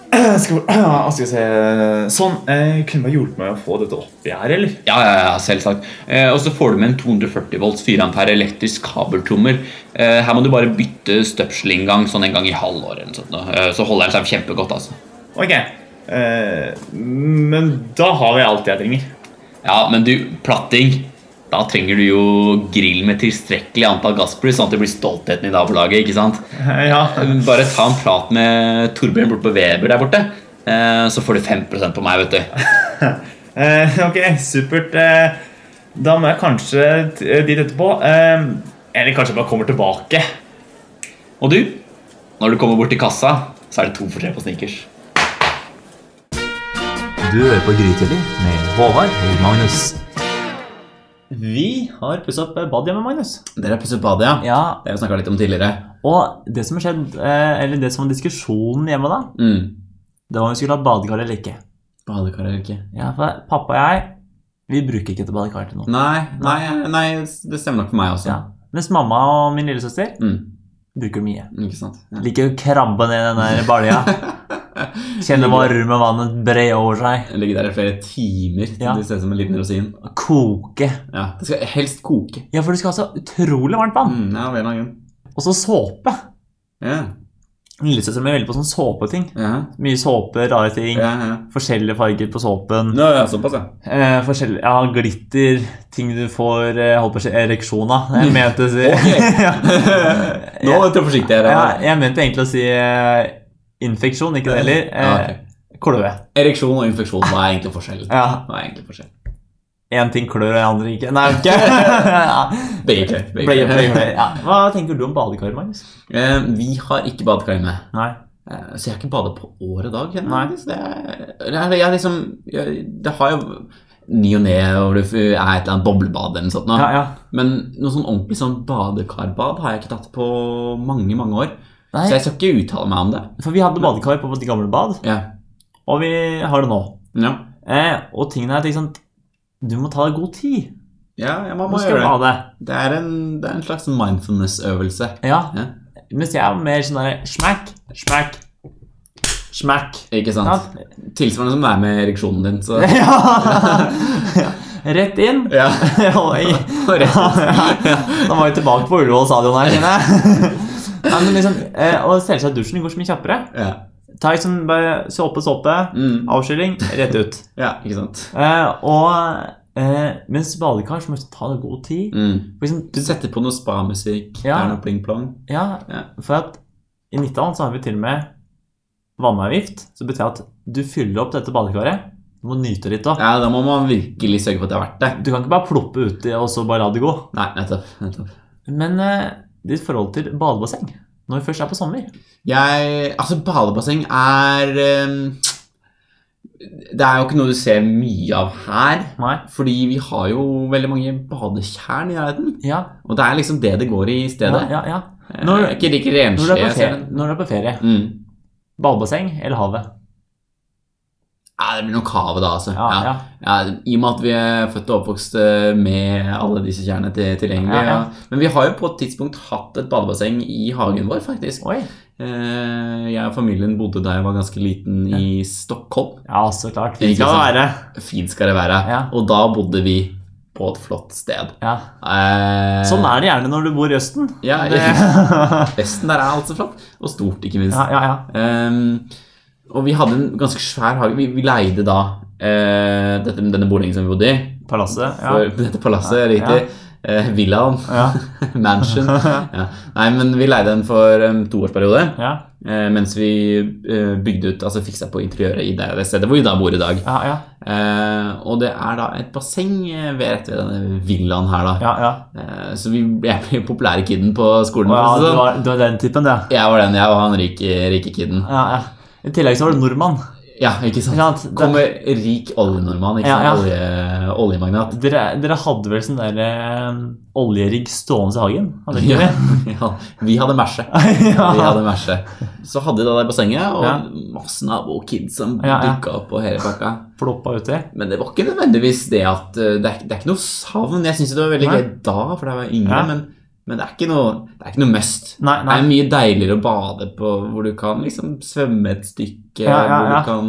[SPEAKER 5] [CLEARS THROAT] Skal, ah, skal vi [CLEARS THROAT] se Sånn. Eh, kunne bare hjulpet meg å få dette oppi her, eller?
[SPEAKER 3] Ja, ja, ja, selvsagt. Eh, og så får du med en 240 volts 4 ampere elektrisk kabeltrommer. Eh, her må du bare bytte støpselinngang sånn en gang i halvåret. eller noe sånt, da. Eh, så holder den seg kjempegodt. altså.
[SPEAKER 5] Ok. Eh, men da har vi alt jeg
[SPEAKER 2] [LAUGHS]
[SPEAKER 5] trenger.
[SPEAKER 3] Ja, men du, platting. Da trenger du jo grill med tilstrekkelig antall gassbrus, sånn at det blir stoltheten i nabolaget. ikke sant?
[SPEAKER 5] Eh, ja.
[SPEAKER 3] Bare ta en prat med Torbjørn borte på Weber der borte, eh, så får du 5 på meg, vet du.
[SPEAKER 5] Eh, ok, supert. Eh, da må jeg kanskje t- dit etterpå. Eh, eller kanskje jeg bare kommer tilbake.
[SPEAKER 3] Og du, når du kommer bort til kassa, så er det to for tre på snickers.
[SPEAKER 6] Du hører på Grytidlig med Håvard og Magnus.
[SPEAKER 2] Vi har pusset opp badet hjemme, Magnus.
[SPEAKER 1] Dere har pusset badet, ja?
[SPEAKER 2] Ja,
[SPEAKER 1] Det har vi snakka litt om tidligere.
[SPEAKER 2] Og det som har skjedd, eh, eller det som var diskusjonen hjemme da,
[SPEAKER 1] Mm.
[SPEAKER 2] det var om vi skulle ha badekar eller ikke.
[SPEAKER 1] Badekar eller ikke?
[SPEAKER 2] Ja, for pappa og jeg, vi bruker ikke et badekar til noe.
[SPEAKER 1] Nei, nei, nei, det stemmer nok for meg også.
[SPEAKER 2] Ja. Mens mamma og min lillesøster
[SPEAKER 1] Mm.
[SPEAKER 2] bruker mye.
[SPEAKER 1] Ikke sant? Ja.
[SPEAKER 2] Liker å krabbe ned den der
[SPEAKER 1] [LAUGHS]
[SPEAKER 2] balja. Kjenne varme vannet bre over seg.
[SPEAKER 1] Jeg ligger der i flere timer til
[SPEAKER 2] Ja.
[SPEAKER 1] du ser ut som en liten rosin.
[SPEAKER 2] Koke.
[SPEAKER 1] Ja, Det skal helst koke.
[SPEAKER 2] Ja, for det skal ha så utrolig varmt vann.
[SPEAKER 1] Mm, ja, av en eller annen grunn.
[SPEAKER 2] Og så såpe.
[SPEAKER 1] Ja,
[SPEAKER 2] Lillesøsteren min er veldig på sånn såpeting.
[SPEAKER 1] ja,
[SPEAKER 2] Mye såpe, rare ting.
[SPEAKER 1] ja, ja.
[SPEAKER 2] Forskjellige farger på såpen.
[SPEAKER 1] Nå, ja, såpass, ja.
[SPEAKER 2] Eh, forskjellige ja, glitter, ting du får eh, holdt på å si, ereksjon av.
[SPEAKER 1] [LAUGHS]
[SPEAKER 2] Jeg mente å si
[SPEAKER 1] Ok.
[SPEAKER 2] [LAUGHS] ja,
[SPEAKER 1] [LAUGHS] [LAUGHS] Nå er du forsiktig her.
[SPEAKER 2] ja,
[SPEAKER 1] Anna.
[SPEAKER 2] Jeg mente egentlig å si eh, infeksjon, ikke det heller. Eh,
[SPEAKER 1] Ja, ok.
[SPEAKER 2] Kløe.
[SPEAKER 1] Ereksjon og infeksjon, hva er egentlig forskjellen?
[SPEAKER 2] Ja,
[SPEAKER 1] Hva er egentlig forskjellen?
[SPEAKER 2] Én ting klør, og det andre ikke. Nei, ok. [LAUGHS] ja.
[SPEAKER 1] Begge klør. begge
[SPEAKER 2] Ble-
[SPEAKER 1] klør.
[SPEAKER 2] ble- ble- ja. Hva tenker du om badekar, Magnus?
[SPEAKER 1] [LAUGHS] Eh, Vi har ikke badekar inne.
[SPEAKER 2] Nei.
[SPEAKER 1] Eh, Så jeg har ikke badet på år og dag. kjenner
[SPEAKER 2] Nei.
[SPEAKER 1] jeg faktisk. Det, er, det, er, jeg liksom, jeg, det har jo ny og ne, og det er et eller annet boblebad eller noe sånt. nå.
[SPEAKER 2] Ja, ja.
[SPEAKER 1] Men noe sånn ordentlig sånn badekarbad har jeg ikke tatt på mange, mange år.
[SPEAKER 2] Nei,
[SPEAKER 1] Så jeg skal ikke uttale meg om det.
[SPEAKER 2] For vi hadde badekar på vårt gamle bad,
[SPEAKER 1] Ja.
[SPEAKER 2] og vi har det nå.
[SPEAKER 1] Ja,
[SPEAKER 2] Eh, og tingene er liksom Du må ta deg god tid.
[SPEAKER 1] ja jeg må,
[SPEAKER 2] Du
[SPEAKER 1] må
[SPEAKER 2] skal
[SPEAKER 1] gjøre det.
[SPEAKER 2] bade.
[SPEAKER 1] Det er en, det er en slags mindfulness-øvelse.
[SPEAKER 2] Ja.
[SPEAKER 1] Ja.
[SPEAKER 2] Mens jeg er mer sånn der smack, smack, smack.
[SPEAKER 1] Ikke
[SPEAKER 2] Ja.
[SPEAKER 1] sant? Tilsvarende som det er med ereksjonen din. Så.
[SPEAKER 2] [LAUGHS] ja. Rett inn.
[SPEAKER 1] [LAUGHS] Ja.
[SPEAKER 2] Oi.
[SPEAKER 1] Og rett ut.
[SPEAKER 2] Ja. Da var vi tilbake på Ullevål stadion her, kjenner
[SPEAKER 1] [LAUGHS]
[SPEAKER 2] jeg. Nei, men liksom, eh, og selvsagt dusjen går så mye kjappere.
[SPEAKER 1] Ja.
[SPEAKER 2] Ta liksom bare såpe, såpe,
[SPEAKER 1] Mm.
[SPEAKER 2] avskylling, rett ut.
[SPEAKER 1] ja, ikke sant?
[SPEAKER 2] Eh, og eh, mens badekar så må du ta deg god tid.
[SPEAKER 1] Mm.
[SPEAKER 2] For Liksom,
[SPEAKER 1] Du setter på noe spamusikk, det
[SPEAKER 2] Ja.
[SPEAKER 1] er noe pling-plong.
[SPEAKER 2] Ja,
[SPEAKER 1] Ja.
[SPEAKER 2] for at i Nittedal så har vi til og med vannavgift. Så betyr det at du fyller opp dette badekaret. Du må nyte litt òg.
[SPEAKER 1] Ja, da må man virkelig sørge for at det er verdt det.
[SPEAKER 2] Du kan ikke bare ploppe uti og så bare la det gå.
[SPEAKER 1] Nei, nettopp. nettopp.
[SPEAKER 2] Men eh, ditt forhold til badebasseng når vi først er på sommer
[SPEAKER 1] Jeg Altså, badebasseng er ehm, Det er jo ikke noe du ser mye av her.
[SPEAKER 2] Nei.
[SPEAKER 1] Fordi vi har jo veldig mange badetjern i nærheten.
[SPEAKER 2] Ja,
[SPEAKER 1] Og det er liksom det det går i i
[SPEAKER 2] ja,
[SPEAKER 1] stedet.
[SPEAKER 2] ja, ja.
[SPEAKER 1] Eh,
[SPEAKER 2] Når-
[SPEAKER 1] ikke like
[SPEAKER 2] Når, du
[SPEAKER 1] renslig.
[SPEAKER 2] er på
[SPEAKER 1] jeg ser
[SPEAKER 2] ferie,
[SPEAKER 1] det.
[SPEAKER 2] når du er på ferie.
[SPEAKER 1] Mm.
[SPEAKER 2] Badebasseng eller havet?
[SPEAKER 1] Ja, det blir nok havet, da, altså.
[SPEAKER 2] Ja, ja.
[SPEAKER 1] Ja, I og med at vi er født og oppvokst eh, med alle disse kjernene til- tilgjengelig.
[SPEAKER 2] Ja, ja.
[SPEAKER 1] ja. Men vi har jo på et tidspunkt hatt et badebasseng i hagen vår, faktisk.
[SPEAKER 2] Oi.
[SPEAKER 1] Eh, Jeg og familien bodde da jeg var ganske liten i Stockholm.
[SPEAKER 2] Ja, så klart.
[SPEAKER 1] Ikke
[SPEAKER 2] Fint liksom. skal det
[SPEAKER 1] sant?
[SPEAKER 2] være.
[SPEAKER 1] Fint skal det være.
[SPEAKER 2] Ja.
[SPEAKER 1] Og da bodde vi på et flott sted.
[SPEAKER 2] Ja.
[SPEAKER 1] Eh,
[SPEAKER 2] Sånn er det gjerne når du bor i Østen.
[SPEAKER 1] Ja,
[SPEAKER 2] Det...
[SPEAKER 1] [LAUGHS] Resten der er altså flott. Og stort, ikke minst.
[SPEAKER 2] ja, ja, ja.
[SPEAKER 1] Ehm, og vi hadde en ganske svær hage. Vi, vi leide da eh, dette, denne boligen som vi bodde i.
[SPEAKER 2] Palasset. Ja.
[SPEAKER 1] For dette palasset, riktig. Eh, villaen.
[SPEAKER 2] Ja.
[SPEAKER 1] [LAUGHS]
[SPEAKER 2] [LAUGHS]
[SPEAKER 1] Mansion. ja. Nei, men vi leide den for en toårsperiode.
[SPEAKER 2] Ja.
[SPEAKER 1] eh, mens vi eh, bygde ut, altså fiksa på interiøret i det, det stedet hvor vi da bor i dag.
[SPEAKER 2] Ja, ja,
[SPEAKER 1] Eh, og det er da et basseng eh, ved rett ved denne villaen her, da.
[SPEAKER 2] ja, ja.
[SPEAKER 1] Eh, så vi, jeg ble populære kiden på skolen.
[SPEAKER 2] Å, ja
[SPEAKER 1] for å si det
[SPEAKER 2] du,
[SPEAKER 1] sånn.
[SPEAKER 2] var, du var den typen, det.
[SPEAKER 1] Jeg var den, jeg var han rike, rike kiden.
[SPEAKER 2] Ja, ja. I tillegg så var du nordmann.
[SPEAKER 1] Ja, ikke sant?
[SPEAKER 2] Ikke sant?
[SPEAKER 1] Kommer rik oljenordmann, ikke
[SPEAKER 2] Ja, ja.
[SPEAKER 1] sant? Olje, oljemagnat.
[SPEAKER 2] Dere, dere hadde vel sånn der eh, oljerigg stående i hagen? Hadde dere
[SPEAKER 1] Ja,
[SPEAKER 2] ikke
[SPEAKER 1] [LAUGHS] ja. Vi hadde merse.
[SPEAKER 2] det? [LAUGHS]
[SPEAKER 1] Vi
[SPEAKER 2] ja.
[SPEAKER 1] hadde merse. Så hadde de det der bassenget, og
[SPEAKER 2] Ja.
[SPEAKER 1] masse nabokids som
[SPEAKER 2] Ja, ja.
[SPEAKER 1] dukka opp og hele pakka.
[SPEAKER 2] Ploppa uti.
[SPEAKER 1] Men det var ikke nødvendigvis det at eh, Det er, det er ikke noe savn. Jeg syns det var veldig
[SPEAKER 2] Nei.
[SPEAKER 1] gøy da, for da var jeg yngre,
[SPEAKER 2] Ja.
[SPEAKER 1] men, men det er ikke noe, det er ikke noe must.
[SPEAKER 2] Nei,
[SPEAKER 1] Det
[SPEAKER 2] nei.
[SPEAKER 1] er mye deiligere å bade på hvor du kan liksom svømme et stykke,
[SPEAKER 2] Ja, ja,
[SPEAKER 1] hvor
[SPEAKER 2] ja.
[SPEAKER 1] du kan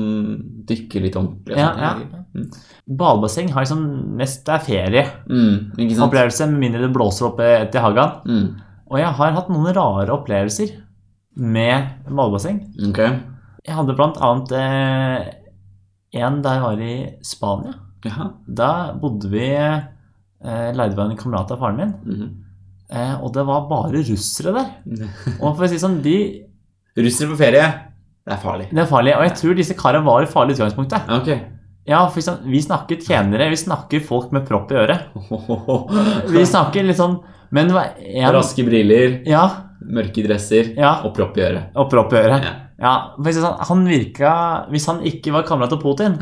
[SPEAKER 1] dykke litt ordentlig. og
[SPEAKER 2] Ja,
[SPEAKER 1] sånt.
[SPEAKER 2] Badebasseng har liksom mest det er ferieopplevelse,
[SPEAKER 1] Mm, ikke sant?
[SPEAKER 2] med mindre det blåser opp eh, til hagen.
[SPEAKER 1] Mm,
[SPEAKER 2] Og jeg har hatt noen rare opplevelser med badebasseng.
[SPEAKER 1] ok.
[SPEAKER 2] Jeg hadde blant annet eh, en da jeg var i Spania.
[SPEAKER 1] Jaha.
[SPEAKER 2] Da bodde vi eh, leide vi av en kamerat av faren min,
[SPEAKER 1] mhm.
[SPEAKER 2] eh, og det var bare russere der.
[SPEAKER 1] [LAUGHS]
[SPEAKER 2] Og for å si sånn, de,
[SPEAKER 1] Russere på ferie, det er farlig.
[SPEAKER 2] det er farlig. Og jeg tror disse karene var i farlig i utgangspunktet.
[SPEAKER 1] Ok. [LAUGHS]
[SPEAKER 2] Ja, for sånn, Vi snakker tjenere, vi snakker folk med propp i
[SPEAKER 1] [LAUGHS]
[SPEAKER 2] øret. Vi
[SPEAKER 1] Raske
[SPEAKER 2] snakker litt sånn Men det var en
[SPEAKER 1] briller,
[SPEAKER 2] Ja,
[SPEAKER 1] mørke dresser
[SPEAKER 2] ja.
[SPEAKER 1] og propp i øret.
[SPEAKER 2] Og propp i øret.
[SPEAKER 1] Ja.
[SPEAKER 2] Ja, for å si sånn, han virka Hvis han ikke var kamerat til
[SPEAKER 1] [LAUGHS]
[SPEAKER 2] Putin,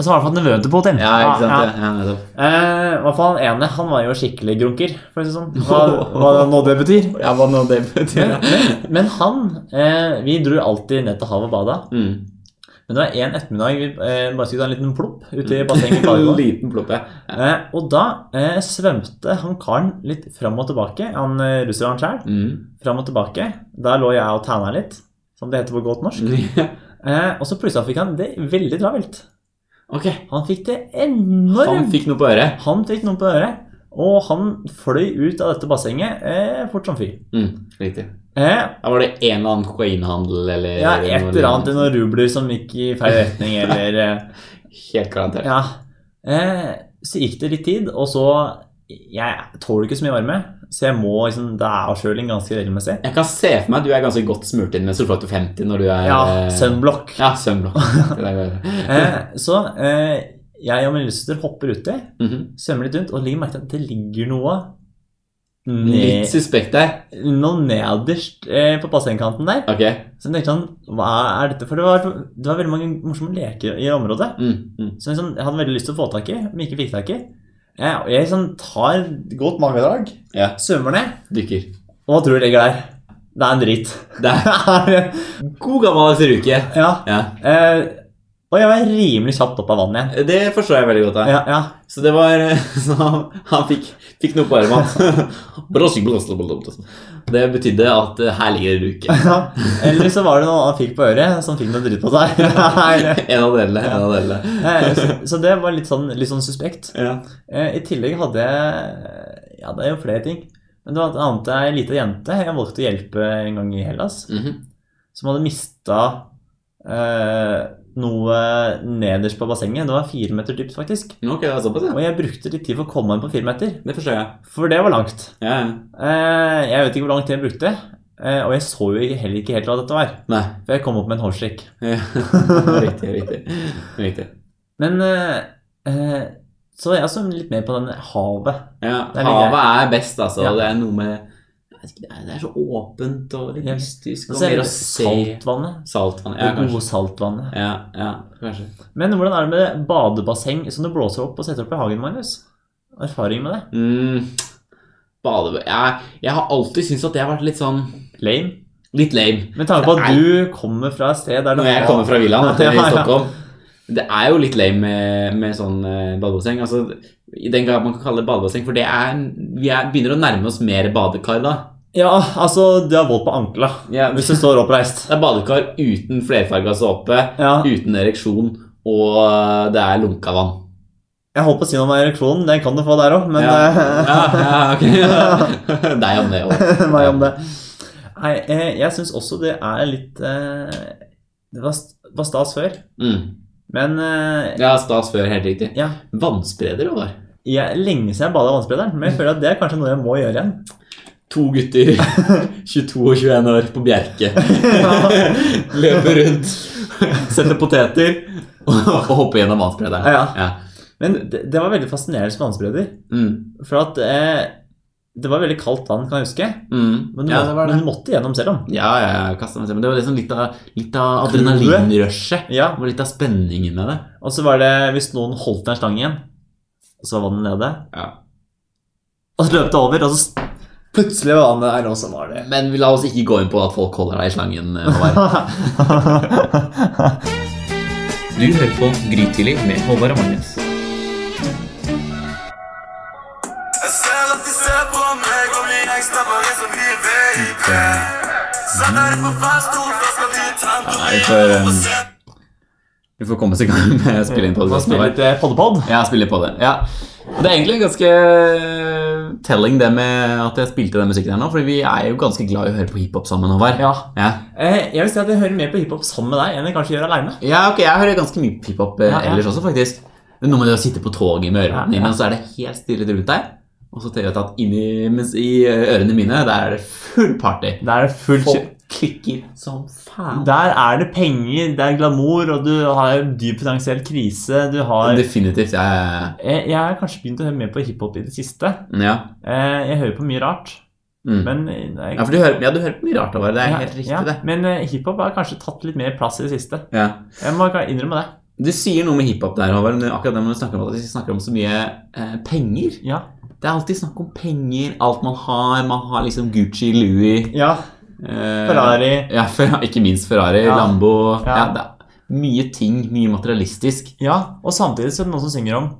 [SPEAKER 2] så var han i hvert fall nevøen til Putin.
[SPEAKER 1] Ja, ikke sant?
[SPEAKER 2] Ja, ja.
[SPEAKER 1] Ja, ja, nettopp.
[SPEAKER 2] Eh, I hvert fall han ene, han var jo skikkelig grunker, for å si det
[SPEAKER 1] [LAUGHS]
[SPEAKER 2] sånn. Hva, hva nå det betyr.
[SPEAKER 1] Ja, hva nå det betyr.
[SPEAKER 2] Men han eh, Vi dro alltid ned til havet og bada.
[SPEAKER 1] Mm.
[SPEAKER 2] Men det var en ettermiddag vi eh, bare skulle ta en liten plopp ute i bassenget. i
[SPEAKER 1] [LAUGHS]
[SPEAKER 2] Paragon.
[SPEAKER 1] Liten ploppe.
[SPEAKER 2] eh, og da eh, svømte han karen litt fram og tilbake, han eh, russeren sjøl.
[SPEAKER 1] Mm. [LAUGHS]
[SPEAKER 2] Fram og tilbake. Da lå jeg og tæna litt, som det heter på godt norsk. Eh, og så plutselig fikk han det veldig travelt.
[SPEAKER 1] Ok.
[SPEAKER 2] Han fikk det enormt
[SPEAKER 1] Han fikk noe på øret.
[SPEAKER 2] Han fikk noe på øret, og han fløy ut av dette bassenget eh, fort som fy.
[SPEAKER 1] Mm. Riktig.
[SPEAKER 2] Eh,
[SPEAKER 1] Da var det en eller annen kokainhandel eller
[SPEAKER 2] ja, et eller annet i noen rubler som gikk i
[SPEAKER 1] [LAUGHS]
[SPEAKER 2] feil retning, eller eh,
[SPEAKER 1] Helt garantert.
[SPEAKER 2] Ja. Eh, så gikk det litt tid, og så Jeg tåler ikke så mye varme, så jeg må liksom Det er avkjøling ganske regelmessig.
[SPEAKER 1] Jeg kan se for meg at du er ganske godt smurt inn med solfaktor 50 når du er
[SPEAKER 2] Ja,
[SPEAKER 1] eh,
[SPEAKER 2] sunblock.
[SPEAKER 1] Ja,
[SPEAKER 2] [LAUGHS]
[SPEAKER 1] sunblock. Det der går det. [LAUGHS]
[SPEAKER 2] Eh, så eh, jeg og min søster hopper uti,
[SPEAKER 1] Mhm.
[SPEAKER 2] svømmer litt rundt, og legger merke til at det ligger noe
[SPEAKER 1] Litt
[SPEAKER 2] ned,
[SPEAKER 1] suspekt der.
[SPEAKER 2] Noe nederst eh, på bassengkanten der.
[SPEAKER 1] Ok.
[SPEAKER 2] Så jeg tenkte han, hva er dette? For det var, det var veldig mange morsomme leker i området.
[SPEAKER 1] Mm. Mm.
[SPEAKER 2] Så jeg, sånn, jeg hadde veldig lyst til å få tak i, men ikke fikk tak i. Eh, og jeg sånn, tar godt magedrag,
[SPEAKER 1] Ja.
[SPEAKER 2] svømmer ned,
[SPEAKER 1] Dukker.
[SPEAKER 2] og hva tror du ligger der? Det er en drit.
[SPEAKER 1] [LAUGHS] Det er god gammeldags ruke.
[SPEAKER 2] ja.
[SPEAKER 1] Ja.
[SPEAKER 2] Eh, og jeg var rimelig kjapt opp av vannet igjen.
[SPEAKER 1] Det forstår jeg veldig godt. da.
[SPEAKER 2] Ja, ja.
[SPEAKER 1] Så det var eh, [LAUGHS] Så han, han fikk, fikk noe på armen.
[SPEAKER 2] [LAUGHS]
[SPEAKER 1] Blåsing, blåsing, blåsing. Det betydde at eh, her ligger det ruke.
[SPEAKER 2] ja. Eller så var det noe han fikk på øret, som fikk noe dritt på seg. [LAUGHS] Eller-
[SPEAKER 1] [LAUGHS] En av delene. En av delene.
[SPEAKER 2] eh, så, så det var litt sånn, litt sånn suspekt.
[SPEAKER 1] Ja.
[SPEAKER 2] Eh, I tillegg hadde jeg Ja, det er jo flere ting. Men det var et annet ei lita jente jeg valgte å hjelpe en gang i Hellas,
[SPEAKER 1] Mhm.
[SPEAKER 2] som hadde mista eh, noe nederst på bassenget. Det var fire meter dypt, faktisk.
[SPEAKER 1] Ok, det er såpass, ja.
[SPEAKER 2] Og jeg brukte litt tid for å komme meg inn på fire meter,
[SPEAKER 1] Det forstår jeg.
[SPEAKER 2] for det var langt.
[SPEAKER 1] Ja, ja.
[SPEAKER 2] Eh, jeg vet ikke hvor lang tid jeg brukte, eh, og jeg så jo ikke- heller ikke helt hva dette var.
[SPEAKER 1] Nei. [LAUGHS]
[SPEAKER 2] For jeg kom opp med en hårstrikk.
[SPEAKER 1] Ja. riktig, riktig. riktig.
[SPEAKER 2] Men eh, eh, så jeg så litt mer på den havet.
[SPEAKER 1] Ja,
[SPEAKER 2] Det er litt
[SPEAKER 1] havet er best, altså.
[SPEAKER 2] Ja.
[SPEAKER 1] Det er noe med jeg vet ikke, det er- Det er så åpent og litt
[SPEAKER 2] Ja.
[SPEAKER 1] mystisk.
[SPEAKER 2] Og
[SPEAKER 1] Og
[SPEAKER 2] så er
[SPEAKER 1] mer
[SPEAKER 2] det
[SPEAKER 1] å se
[SPEAKER 2] saltvannet.
[SPEAKER 1] saltvann. Ja,
[SPEAKER 2] Det
[SPEAKER 1] kanskje.
[SPEAKER 2] gode saltvannet.
[SPEAKER 1] Ja, ja, kanskje.
[SPEAKER 2] Men hvordan er det med badebasseng som du blåser opp og setter opp i hagen, Magnus? Erfaring med det?
[SPEAKER 1] Mm. Bade... Jeg, jeg har alltid syntes at det har vært litt sånn
[SPEAKER 2] Lame.
[SPEAKER 1] Litt lame.
[SPEAKER 2] Med tanke på at
[SPEAKER 1] Nei.
[SPEAKER 2] du kommer fra et sted der du
[SPEAKER 1] Når jeg kommer fra villaen
[SPEAKER 2] [LAUGHS]
[SPEAKER 1] at det er
[SPEAKER 2] Ja, ja.
[SPEAKER 1] i Stockholm. Det er jo litt lame med, med sånn eh, badebasseng. Altså, I den grad man kan kalle det badebasseng, for det er, vi er, begynner å nærme oss mer badekar da.
[SPEAKER 2] Ja, altså, du har vold på ankla
[SPEAKER 1] Ja,
[SPEAKER 2] hvis du står oppreist.
[SPEAKER 1] Det er badekar uten flerfarga såpe,
[SPEAKER 2] Ja,
[SPEAKER 1] uten ereksjon, og eh, det er lunka vann.
[SPEAKER 2] jeg holdt på å si noe om ereksjonen, den kan du få der òg, men
[SPEAKER 1] ja.
[SPEAKER 2] eh,
[SPEAKER 1] [LAUGHS]
[SPEAKER 2] [LAUGHS]
[SPEAKER 1] ja, ja, ok. [LAUGHS] Deg om det òg.
[SPEAKER 2] meg om det. Nei, eh, jeg syns også det er litt eh, Det var, st- var stas før,
[SPEAKER 1] Mm.
[SPEAKER 2] men eh,
[SPEAKER 1] Ja, stas før, helt riktig.
[SPEAKER 2] ja.
[SPEAKER 1] Vannspreder, Håvard.
[SPEAKER 2] Jeg, lenge siden jeg bada i vannsprederen, men jeg føler at det er kanskje noe jeg må gjøre igjen.
[SPEAKER 1] To [LAUGHS] gutter, 22 og 21 år, på Bjerke. Løper rundt, setter poteter og hopper gjennom matbredet.
[SPEAKER 2] Ja, ja. Men det, det var veldig fascinerende som vannspreder.
[SPEAKER 1] Mm.
[SPEAKER 2] For at eh, det var veldig kaldt vann, kan jeg huske.
[SPEAKER 1] Mm.
[SPEAKER 2] Men du,
[SPEAKER 1] ja,
[SPEAKER 2] må,
[SPEAKER 1] det var
[SPEAKER 2] men
[SPEAKER 1] det.
[SPEAKER 2] du måtte gjennom selv om.
[SPEAKER 1] Ja, ja, ja, kastet meg selv. Men det var liksom litt av, litt av adrenalinrushet.
[SPEAKER 2] Ja,
[SPEAKER 1] Det var litt av spenningen med det.
[SPEAKER 2] Og så var det hvis noen holdt den slangen igjen, og så var vannet nede.
[SPEAKER 1] Ja.
[SPEAKER 2] Og så løp det over, og så s- plutselig var vannet der, og så var det
[SPEAKER 1] Men la oss ikke gå inn på at folk holder deg i slangen. eh, Håvard. [LAUGHS]
[SPEAKER 3] Du hører på Grytidlig med Håvard og Magnus.
[SPEAKER 7] Jeg ser at de ser på meg og vi engster bare som vi baby Satt her på fast to flasker vi tente og vi
[SPEAKER 1] for,
[SPEAKER 7] holdt på
[SPEAKER 1] um,
[SPEAKER 7] sent.
[SPEAKER 1] Du får komme seg i gang med å spille inn på det. Håvard.
[SPEAKER 2] Poddepod?
[SPEAKER 1] Ja, spille på det. Ja. Og Det er egentlig ganske eh, telling det med at jeg spilte den musikken her nå, for vi er jo ganske glad i å høre på hiphop sammen, Håvard.
[SPEAKER 2] Ja.
[SPEAKER 1] Ja.
[SPEAKER 2] Eh, jeg vil si at jeg hører mer på hiphop sammen med deg enn jeg kanskje gjør aleine.
[SPEAKER 1] ja, ok, jeg hører ganske mye på hiphop eh,
[SPEAKER 2] Ja, ja.
[SPEAKER 1] ellers også, faktisk. Men noe med det å sitte på toget med ørene
[SPEAKER 2] Ja, ja.
[SPEAKER 1] dine, og så er det helt stille rundt deg, og så ser jeg at inni, mens i eh, ørene mine, der er det full party.
[SPEAKER 2] Der er det fullt
[SPEAKER 1] Folk
[SPEAKER 2] kjø-
[SPEAKER 1] klikker som faen.
[SPEAKER 2] Der er det penger, det er glamour, og du har en dyp finansiell krise. Du har
[SPEAKER 1] Definitivt. Ja, ja, ja.
[SPEAKER 2] Eh, Jeg har kanskje begynt å høre mer på hiphop i det siste.
[SPEAKER 1] ja.
[SPEAKER 2] Eh, Jeg hører på mye rart,
[SPEAKER 1] Mm.
[SPEAKER 2] men eh,
[SPEAKER 1] ja, for du hører, ja, du hører på mye rart, Håvard. Det er
[SPEAKER 2] ja,
[SPEAKER 1] helt riktig,
[SPEAKER 2] ja,
[SPEAKER 1] det.
[SPEAKER 2] Men eh, hiphop har kanskje tatt litt mer plass i det siste.
[SPEAKER 1] Ja.
[SPEAKER 2] Jeg må ikke innrømme det.
[SPEAKER 1] Du sier noe med hiphop der, Håvard. men Akkurat det når du snakker om at vi snakker om så mye eh, penger.
[SPEAKER 2] Ja.
[SPEAKER 1] Det er alltid snakk om penger, alt man har. Man har liksom Gucci, Louis
[SPEAKER 2] ja
[SPEAKER 1] eh,
[SPEAKER 2] Ferrari.
[SPEAKER 1] Ja, [LAUGHS] Fer- ikke minst Ferrari,
[SPEAKER 2] Ja.
[SPEAKER 1] Lambo. Ja.
[SPEAKER 2] Ja.
[SPEAKER 1] det er mye ting, mye materialistisk.
[SPEAKER 2] Ja, og samtidig så er det noen som synger om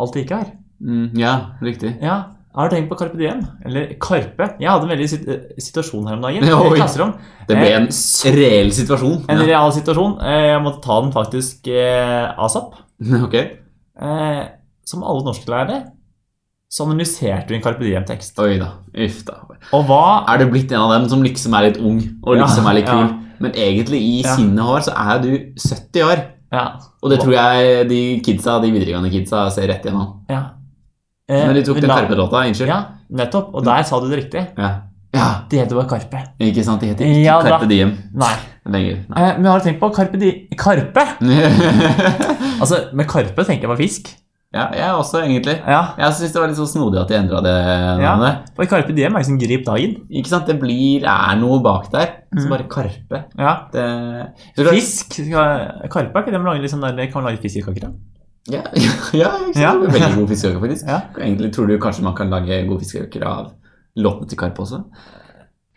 [SPEAKER 2] alt det ikke er.
[SPEAKER 1] Mm, ja, riktig.
[SPEAKER 2] Ja, Har du tenkt på Carpe Diem? Eller Karpe? Jeg hadde en veldig sit- eh, situasjon her om
[SPEAKER 1] [LAUGHS]
[SPEAKER 2] dagen.
[SPEAKER 1] Oi.
[SPEAKER 2] I klasserom.
[SPEAKER 1] Det ble
[SPEAKER 2] Eh,
[SPEAKER 1] en s- reell situasjon.
[SPEAKER 2] En
[SPEAKER 1] Ja.
[SPEAKER 2] real situasjon. Eh, Jeg måtte ta den faktisk eh, asap.
[SPEAKER 1] [LAUGHS] Ok.
[SPEAKER 2] Eh, Som alle norsklærere så analyserte vi en Carpe Diem-tekst.
[SPEAKER 1] Oi da. Uff da.
[SPEAKER 2] Og hva
[SPEAKER 1] Er du blitt en av dem som liksom er litt ung og
[SPEAKER 2] Ja,
[SPEAKER 1] liksom er litt kul?
[SPEAKER 2] ja.
[SPEAKER 1] Men egentlig i
[SPEAKER 2] Ja.
[SPEAKER 1] sinnet Håvard, så er du 70 år.
[SPEAKER 2] Ja.
[SPEAKER 1] Og det tror jeg de kidsa, de videregående kidsa ser rett gjennom.
[SPEAKER 2] ja. Eh,
[SPEAKER 1] Men de tok
[SPEAKER 2] vi
[SPEAKER 1] den
[SPEAKER 2] la-
[SPEAKER 1] Karpe-låta, unnskyld.
[SPEAKER 2] Ja, nettopp. Og der sa du det riktig.
[SPEAKER 1] Ja. ja.
[SPEAKER 2] Det heter bare Karpe.
[SPEAKER 1] Ikke sant? De heter ikke
[SPEAKER 2] Ja da.
[SPEAKER 1] Carpe Diem
[SPEAKER 2] Nei.
[SPEAKER 1] lenger. Nei.
[SPEAKER 2] Eh, Men har du tenkt på Karpe di... Karpe? Altså, med Karpe tenker jeg på fisk.
[SPEAKER 1] [LAUGHS] ja, jeg også, egentlig.
[SPEAKER 2] Ja.
[SPEAKER 1] Jeg syns det var litt så snodig at de endra det
[SPEAKER 2] Ja.
[SPEAKER 1] navnet.
[SPEAKER 2] For Karpe Diem er liksom grip dagen.
[SPEAKER 1] Ikke sant? Det blir, er noe bak der. Så
[SPEAKER 2] Mhm.
[SPEAKER 1] bare Karpe.
[SPEAKER 2] Ja.
[SPEAKER 1] Det,
[SPEAKER 2] Fisk? skal- Karpe er ikke det man lager, liksom der, kan man lage fiskekaker av?
[SPEAKER 1] Ja, [LAUGHS] ja ikke sant?
[SPEAKER 2] Ja.
[SPEAKER 1] Det er Veldig god fiskekaker, faktisk.
[SPEAKER 2] Ja.
[SPEAKER 1] Egentlig tror du kanskje man kan lage gode fiskekaker av låtene til Karpe også?
[SPEAKER 2] Ja.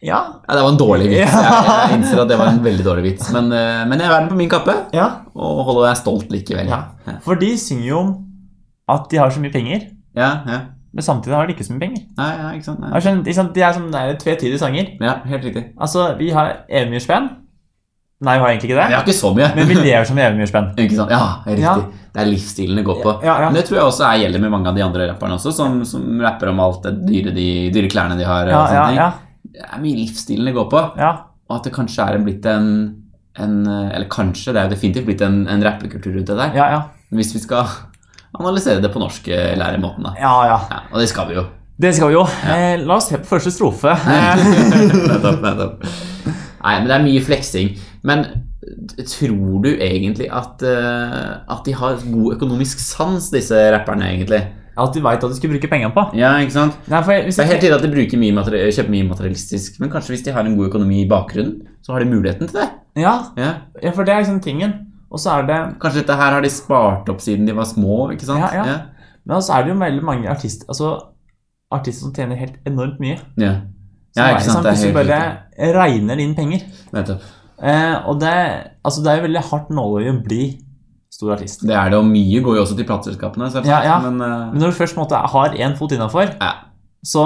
[SPEAKER 1] Ja, det var en dårlig vits.
[SPEAKER 2] Ja.
[SPEAKER 1] Jeg, jeg innser at det var en veldig dårlig vits. Men, eh, men jeg bærer den på min kappe
[SPEAKER 2] ja.
[SPEAKER 1] og holder deg stolt likevel.
[SPEAKER 2] Ja. For de synger jo om at de har så mye penger,
[SPEAKER 1] ja, ja.
[SPEAKER 2] men samtidig har de ikke så mye penger.
[SPEAKER 1] Nei, ja, ikke sant?
[SPEAKER 2] Jeg
[SPEAKER 1] Nei.
[SPEAKER 2] skjønner, ikke sant? De er sånn det er tvetydige sanger.
[SPEAKER 1] Ja, helt riktig.
[SPEAKER 2] Altså, vi har eventyrspenn. Nei, vi har egentlig ikke
[SPEAKER 1] Jeg
[SPEAKER 2] det.
[SPEAKER 1] har ikke så mye.
[SPEAKER 2] Men vi lever som eventyrspenn.
[SPEAKER 1] [LAUGHS] Ikke sant? Ja, det er
[SPEAKER 2] Ja.
[SPEAKER 1] riktig. Det er livsstilen det går på.
[SPEAKER 2] Ja, ja.
[SPEAKER 1] Men det tror jeg også er, gjelder med mange av de andre rapperne også, som, som rapper om alt det dyre, de, dyre klærne de har. eh, og
[SPEAKER 2] Ja, ja,
[SPEAKER 1] sånne ting.
[SPEAKER 2] ja,
[SPEAKER 1] Det er mye livsstilen det går på.
[SPEAKER 2] ja.
[SPEAKER 1] Og at det kanskje er en- blitt en, en eh, Eller kanskje, det er jo definitivt blitt en, en rappekultur rundt det der.
[SPEAKER 2] ja, ja.
[SPEAKER 1] Hvis vi skal analysere det på norsk eh, læremåten, da.
[SPEAKER 2] ja, ja.
[SPEAKER 1] Ja, og det skal vi jo.
[SPEAKER 2] Det skal vi jo. Eh, la oss se på første strofe. Eh,
[SPEAKER 1] nettopp, nettopp. Nei, men det er mye fleksing. Men t- tror du egentlig at, eh, at de har god økonomisk sans, disse rapperne, egentlig?
[SPEAKER 2] at de veit hva de skal bruke pengene på.
[SPEAKER 1] Ja, ikke sant?
[SPEAKER 2] Nei, for hvis
[SPEAKER 1] Det er
[SPEAKER 2] jeg,
[SPEAKER 1] helt tydelig at de bruker mye materi- kjøper mye materialistisk, men kanskje hvis de har en god økonomi i bakgrunnen, så har de muligheten til det.
[SPEAKER 2] ja,
[SPEAKER 1] Ja.
[SPEAKER 2] ja, for det er liksom tingen. Og så er det
[SPEAKER 1] Kanskje dette her har de spart opp siden de var små, ikke sant?
[SPEAKER 2] Ja, ja. Men så er det jo veldig mange artister Altså artister som tjener helt enormt mye.
[SPEAKER 1] Ja, ja.
[SPEAKER 2] Som
[SPEAKER 1] Ja,
[SPEAKER 2] er-
[SPEAKER 1] ikke sant,
[SPEAKER 2] som
[SPEAKER 1] det er
[SPEAKER 2] plutselig
[SPEAKER 1] helt
[SPEAKER 2] bare regner inn penger.
[SPEAKER 1] nettopp.
[SPEAKER 2] Eh, og det, altså det er jo veldig hardt nåløye å bli stor artist.
[SPEAKER 1] Det er det, og mye går jo også til plateselskapene, selvsagt.
[SPEAKER 2] Ja, ja.
[SPEAKER 1] Men eh,
[SPEAKER 2] Men når du først på en måte, har én fot innafor,
[SPEAKER 1] Ja.
[SPEAKER 2] så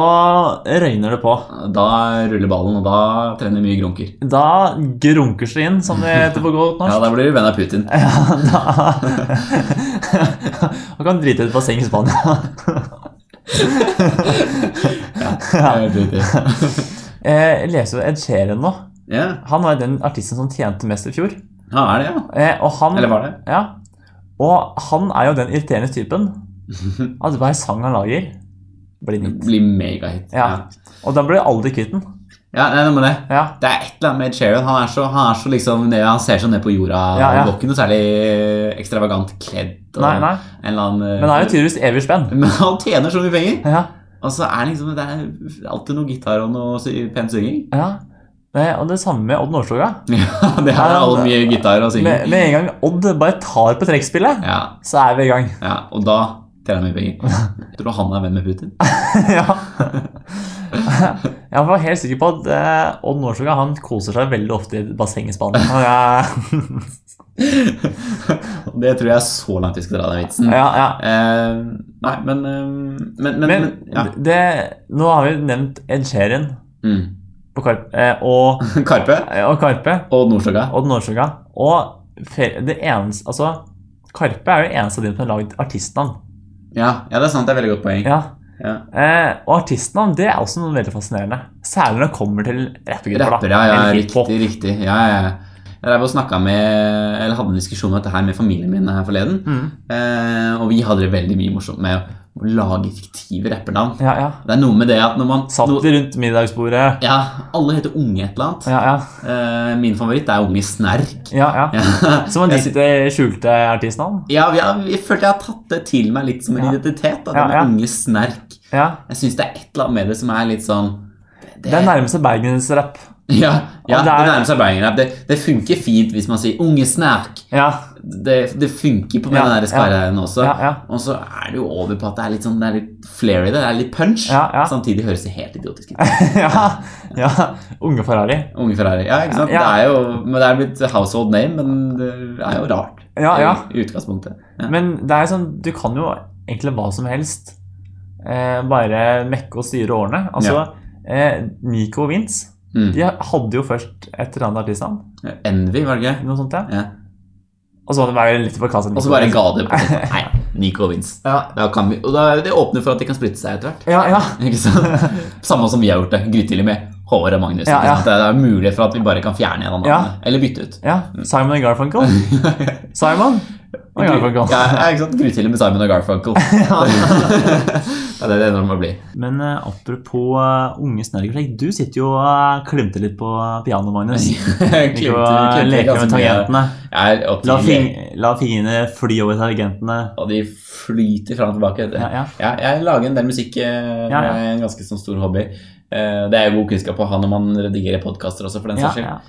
[SPEAKER 2] røyner det på.
[SPEAKER 1] da ruller ballen, og da trener mye grunker.
[SPEAKER 2] Da grunkes det inn, som det heter på godt
[SPEAKER 1] Ja,
[SPEAKER 2] norsk.
[SPEAKER 1] da blir du venn av Putin.
[SPEAKER 2] Ja, da Man kan drite i et basseng i Spania.
[SPEAKER 1] Ja, helt riktig.
[SPEAKER 2] Eh, Jeg leser jo Ed Sheeran nå.
[SPEAKER 1] Ja,
[SPEAKER 2] Han var jo den artisten som tjente mest i fjor.
[SPEAKER 1] ja er det, ja.
[SPEAKER 2] Eh, Og han,
[SPEAKER 1] Eller var det?
[SPEAKER 2] Ja. Altså, Og han er jo den irriterende typen. At hver sang han lager, Blir
[SPEAKER 1] Det
[SPEAKER 2] nytt.
[SPEAKER 1] blir megahit.
[SPEAKER 2] Ja. Og da blir du aldri kvitt den.
[SPEAKER 1] ja nei, det må det.
[SPEAKER 2] Ja.
[SPEAKER 1] Det er et eller annet med Ed Sheeran. Han, er så, han, er så liksom, ned- han ser så ned på jorda.
[SPEAKER 2] Ja, ja.
[SPEAKER 1] Og var ikke noe særlig eh, ekstravagant kledd. Og
[SPEAKER 2] Nei, nei.
[SPEAKER 1] En eller annen, eh,
[SPEAKER 2] Men det er jo tydeligvis evig spenn.
[SPEAKER 1] [LAUGHS] men han tjener så mye penger!
[SPEAKER 2] Ja.
[SPEAKER 1] Og så er det liksom, det er alltid noe gitar og noe sy- pen synging. [LAUGHS]
[SPEAKER 2] ja. Det, og det samme med Odd Nordstoga.
[SPEAKER 1] Ja, det er
[SPEAKER 2] Ja,
[SPEAKER 1] all
[SPEAKER 2] det-
[SPEAKER 1] mye gitar og
[SPEAKER 2] Med,
[SPEAKER 1] synging.
[SPEAKER 2] med en gang Odd bare tar på trekkspillet,
[SPEAKER 1] Ja,
[SPEAKER 2] så er vi i gang.
[SPEAKER 1] ja, og da tjener han mye
[SPEAKER 2] [LAUGHS]
[SPEAKER 1] penger. Tror du han er venn med Putin? [LAUGHS]
[SPEAKER 2] ja. [LAUGHS] Jeg var helt sikker på at eh, Odd Nordstoga han koser seg veldig ofte i bassenget i Spania. Og
[SPEAKER 1] [LAUGHS]
[SPEAKER 2] jeg-
[SPEAKER 1] Mm. Det tror jeg er så langt vi skal dra den vitsen.
[SPEAKER 2] Ja, ja.
[SPEAKER 1] Eh, nei, men, eh, men, men, men,
[SPEAKER 2] Men
[SPEAKER 1] ja.
[SPEAKER 2] det, nå har vi nevnt Ed Sheeran
[SPEAKER 1] mm. [LAUGHS]
[SPEAKER 2] på Karp, eh, og, eh,
[SPEAKER 1] Karpe
[SPEAKER 2] og Karpe
[SPEAKER 1] og Nordstoga.
[SPEAKER 2] og Nordstoga. Og fe- det eneste Altså, Karpe er jo det eneste av de som har lagd artistnavn.
[SPEAKER 1] Ja, ja, det er sant. Det er et veldig godt poeng.
[SPEAKER 2] Ja.
[SPEAKER 1] Ja.
[SPEAKER 2] Eh, og artistnavn det er også noe veldig fascinerende. Særlig når det kommer til rappegrupper.
[SPEAKER 1] Rapper, ja, ja,
[SPEAKER 2] Eller hiphop.
[SPEAKER 1] riktig, riktig. Ja, ja, ja. Jeg drev og snakket med, eller hadde en diskusjon om dette her med familien min her forleden.
[SPEAKER 2] Mm.
[SPEAKER 1] Eh, og vi hadde det veldig mye morsomt med å lage fiktive rappernavn.
[SPEAKER 2] Ja, ja.
[SPEAKER 1] Det er noe med det at når man
[SPEAKER 2] Satt
[SPEAKER 1] no-
[SPEAKER 2] de rundt middagsbordet.
[SPEAKER 1] Ja, alle heter Unge et eller annet.
[SPEAKER 2] Ja, ja.
[SPEAKER 1] Eh, min favoritt er Unge Snerk.
[SPEAKER 2] ja, ja.
[SPEAKER 1] Ja. [LAUGHS]
[SPEAKER 2] Som om de sitter i skjulte artistnavn.
[SPEAKER 1] Ja, vi har- jeg følte jeg har tatt det til meg litt som en
[SPEAKER 2] Ja.
[SPEAKER 1] identitet. Da,
[SPEAKER 2] Ja,
[SPEAKER 1] den
[SPEAKER 2] ja.
[SPEAKER 1] Unge Snerk.
[SPEAKER 2] Ja.
[SPEAKER 1] Jeg syns det er et eller annet med det som er litt sånn
[SPEAKER 2] Det er nærmeste bergensrapp.
[SPEAKER 1] [LAUGHS] Ja, ja
[SPEAKER 2] Og
[SPEAKER 1] det,
[SPEAKER 2] det er-
[SPEAKER 1] nærmer seg bergenrapp. Det, det funker fint hvis man sier 'unge snerk'.
[SPEAKER 2] Ja,
[SPEAKER 1] Det, det funker på med
[SPEAKER 2] Ja,
[SPEAKER 1] den der skarre-en også.
[SPEAKER 2] ja, ja.
[SPEAKER 1] Og så er det jo over på at det er litt sånn Det er litt flair i det. Det er litt punch.
[SPEAKER 2] Ja, ja.
[SPEAKER 1] Samtidig høres det helt idiotisk ut.
[SPEAKER 2] [LAUGHS] [LAUGHS] ja, ja. Unge Ferrari.
[SPEAKER 1] Unge Ferrari. Ja, ikke sant?
[SPEAKER 2] Ja.
[SPEAKER 1] Det er jo men det er blitt household name, men det er jo rart.
[SPEAKER 2] Ja, ja.
[SPEAKER 1] I utgangspunktet. Ja.
[SPEAKER 2] Men det er jo sånn, du kan jo egentlig hva som helst. Eh, bare mekke og styre årene. Altså, eh, Nico og Vince
[SPEAKER 1] Mm.
[SPEAKER 2] de hadde jo først et eller annet artistnavn.
[SPEAKER 1] Envy, var det ikke?
[SPEAKER 2] Noe sånt, ja.
[SPEAKER 1] Ja.
[SPEAKER 2] Og så var det bare litt for kastet
[SPEAKER 1] Og så bare ga det på. Nei, Nico Vince.
[SPEAKER 2] Ja.
[SPEAKER 1] Da kan vi, og da, det åpner for at de kan splitte seg etter hvert.
[SPEAKER 2] Ja, ja.
[SPEAKER 1] Ikke sant? Samme som vi har gjort det. Grytidlig med Håvard og Magnus.
[SPEAKER 2] Ja,
[SPEAKER 1] ikke
[SPEAKER 2] ja.
[SPEAKER 1] sant? Det er mulig for at vi bare kan fjerne en av
[SPEAKER 2] Ja.
[SPEAKER 1] navnene. Eller bytte ut.
[SPEAKER 2] ja. Simon og
[SPEAKER 1] [LAUGHS]
[SPEAKER 2] Garfunkel. Simon og Garfunkel.
[SPEAKER 1] Ja, ja, ikke sant? Grytidlig med Simon og
[SPEAKER 2] [LAUGHS]
[SPEAKER 1] Garfunkel. ja, det er det det må bli.
[SPEAKER 2] Men eh, apropos eh, unge snørrprosjekt, du sitter jo og eh, klimter litt på pianoet,
[SPEAKER 1] [LAUGHS]
[SPEAKER 2] Magnus. [LAUGHS] Ikke å eh,
[SPEAKER 1] Klimte- klimte
[SPEAKER 2] leke
[SPEAKER 1] ganske
[SPEAKER 2] med
[SPEAKER 1] mye.
[SPEAKER 2] tangentene.
[SPEAKER 1] Jeg er og
[SPEAKER 2] La,
[SPEAKER 1] de-
[SPEAKER 2] fing la fingrene fly over tangentene.
[SPEAKER 1] Og de flyter fram og tilbake. vet du.
[SPEAKER 2] Ja, ja.
[SPEAKER 1] Ja, jeg lager en del musikk. eh, Det
[SPEAKER 2] Ja, ja.
[SPEAKER 1] er en ganske sånn stor hobby. Eh, Det er jo god kunnskap å ha når man redigerer podkaster også, for den
[SPEAKER 2] Ja,
[SPEAKER 1] saks skyld.
[SPEAKER 2] ja.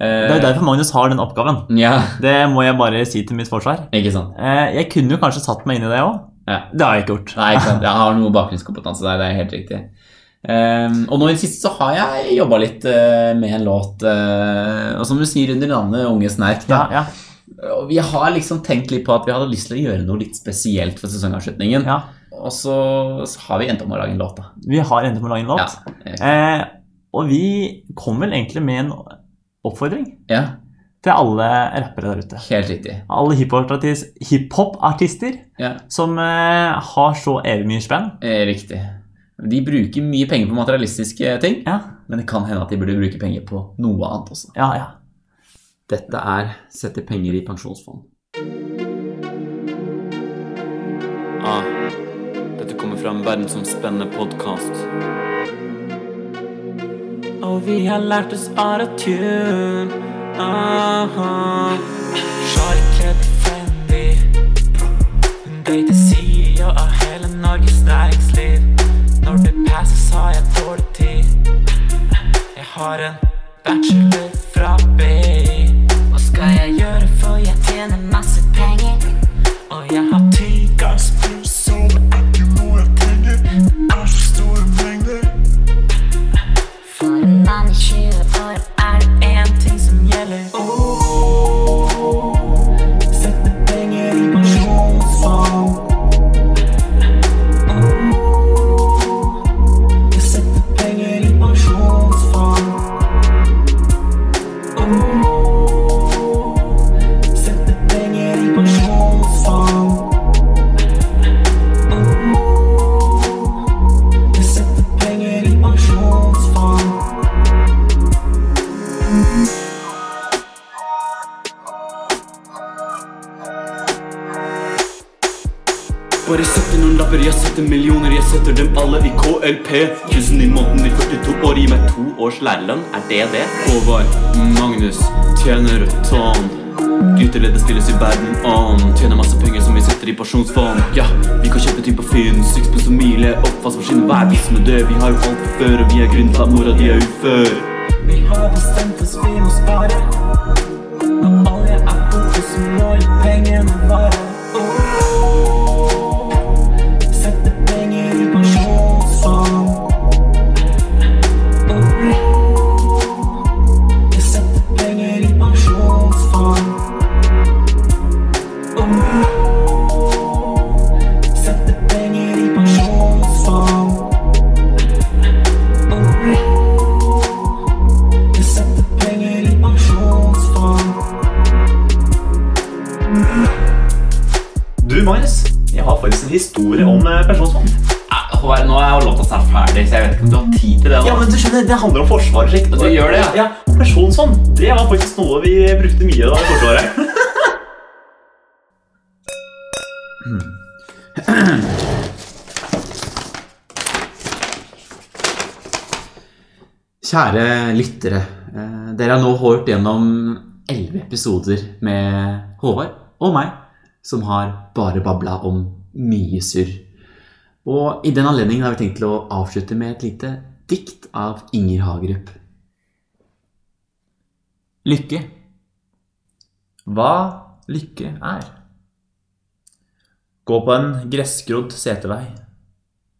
[SPEAKER 1] Eh,
[SPEAKER 2] Det er jo derfor Magnus har den oppgaven.
[SPEAKER 1] Ja,
[SPEAKER 2] Det må jeg bare si til mitt forsvar.
[SPEAKER 1] ikke sant.
[SPEAKER 2] Eh, Jeg kunne jo kanskje satt meg inn i det òg.
[SPEAKER 1] Ja.
[SPEAKER 2] Det har jeg ikke gjort.
[SPEAKER 1] Nei, ikke sant. Jeg har noe bakgrunnskompetanse der, det er helt riktig. Ehm, og nå i det siste så har jeg jobba litt eh, med en låt, eh, og som du sier under navnet Unge Snerk,
[SPEAKER 2] Ja,
[SPEAKER 1] da.
[SPEAKER 2] ja,
[SPEAKER 1] Og Vi har liksom tenkt litt på at vi hadde lyst til å gjøre noe litt spesielt for sesongavslutningen.
[SPEAKER 2] ja.
[SPEAKER 1] Og så, så har vi endt opp med å lage en låt, da.
[SPEAKER 2] Vi har endt opp med å lage en låt.
[SPEAKER 1] Ja.
[SPEAKER 2] Eh, og vi kom vel egentlig med en oppfordring
[SPEAKER 1] ja,
[SPEAKER 2] til alle rappere der ute.
[SPEAKER 1] helt riktig.
[SPEAKER 2] Alle hiphopartis- hiphop-artister
[SPEAKER 1] Ja.
[SPEAKER 2] som eh, har så evig mye spenn.
[SPEAKER 1] Eh, Riktig. De bruker mye penger på materialistiske ting,
[SPEAKER 2] Ja,
[SPEAKER 1] men det kan hende at de burde bruke penger på noe annet også.
[SPEAKER 2] ja, ja.
[SPEAKER 1] Dette er sette penger i pensjonsfond.
[SPEAKER 7] Ah, dette kommer fra en
[SPEAKER 1] sånn
[SPEAKER 7] verdensomspennende podkast. Og vi har lært oss aratun. Aha. Sjarkledd Fanny. Hun dater sida av hele Norges næringsliv. Når det passer, sa jeg dårlig tid. Jeg har en bachelor fra BI. Hva skal jeg gjøre, for jeg tjener masse penger? Og jeg har tigangspuls, så det er ikke noe jeg trenger. Er så store mengder.
[SPEAKER 8] For en mann i 20 år er det
[SPEAKER 7] En ting som gjelder. Oh, sette penger i pensjonsfond. Oh, jeg setter penger i pensjonsfond.
[SPEAKER 9] Bare setter noen lapper, jeg setter millioner, jeg setter dem alle i KLP. 1000 i måneden i 42 år, gi meg to års lærerlønn, er det det? Håvard Magnus tjener et tonn. Gryteleder stilles i verden om. Tjener masse penger som vi setter i pensjonsfond. Ja, vi kan kjøpe ting på Finn. Sixpence og mile, oppvaskmaskin, hva er vitsen med det? Vi har jo alt fra før, og vi er grunnen til at mora di er ufør.
[SPEAKER 7] Vi har bestemt oss, vi må spare. Når alle er borte, så må jo pengene vare. Oh, Sette penger i pensjonsfond. Oh, jeg setter penger i pensjonsfond. Oh, setter penger i pensjonsfond. Oh, jeg setter penger i pensjonsfond.
[SPEAKER 5] Du, Marius, jeg har faktisk en historie om eh, pensjonsfond.
[SPEAKER 1] Eh, Håvard, nå er jo låta snart ferdig, så jeg vet ikke om du har tid til det.
[SPEAKER 5] Ja,
[SPEAKER 1] nå.
[SPEAKER 5] men du skjønner, Det handler om Forsvaret. slik.
[SPEAKER 1] Det gjør det, ja.
[SPEAKER 5] ja. Pensjonsfond det var faktisk noe vi brukte mye da i Forsvaret.
[SPEAKER 1] Kjære lyttere. eh, Dere har nå hørt gjennom elleve episoder med Håvard og meg, som har bare babla om mye surr. Og i den anledningen har vi tenkt til å avslutte med et lite dikt av Inger Hagerup. Lykke.
[SPEAKER 2] Hva lykke er. Gå på en gressgrodd setevei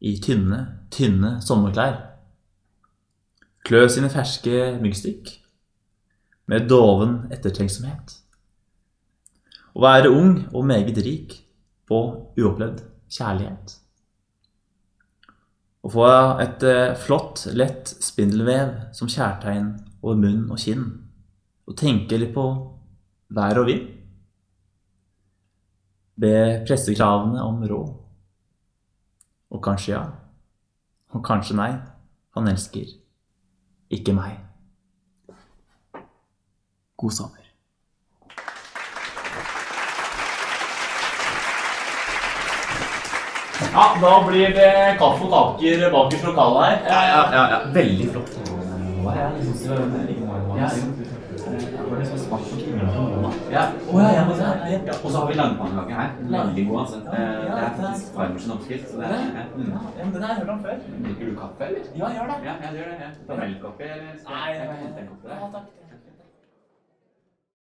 [SPEAKER 2] i tynne, tynne sommerklær. Klø sine ferske myggstikk med doven ettertenksomhet. Å være ung og meget rik på uopplevd kjærlighet. Å få et eh, flott, lett spindelvev som kjærtegn over munn og kinn. Og tenke litt på vær og vind. Be pressekravene om råd. Og kanskje ja, og kanskje nei. Han elsker ikke meg.
[SPEAKER 1] God sommer.
[SPEAKER 2] Ja, da blir det kaffe og kaker bakerst lokale her. Ja, ja, ja, Veldig flott.
[SPEAKER 1] Og så har vi langpannekake her. Veldig god, altså. Det er faktisk farmors oppskrift. Så det er, ja, mm.
[SPEAKER 2] Ja, men den har jeg hørt om før.
[SPEAKER 1] Drikker du kaffe, eller?
[SPEAKER 2] Ja, gjør det.
[SPEAKER 1] Ja, jeg gjør det. Ja. Melkkaffe, eller? Skal jeg- jeg kan hente en kopp til deg.
[SPEAKER 2] takk.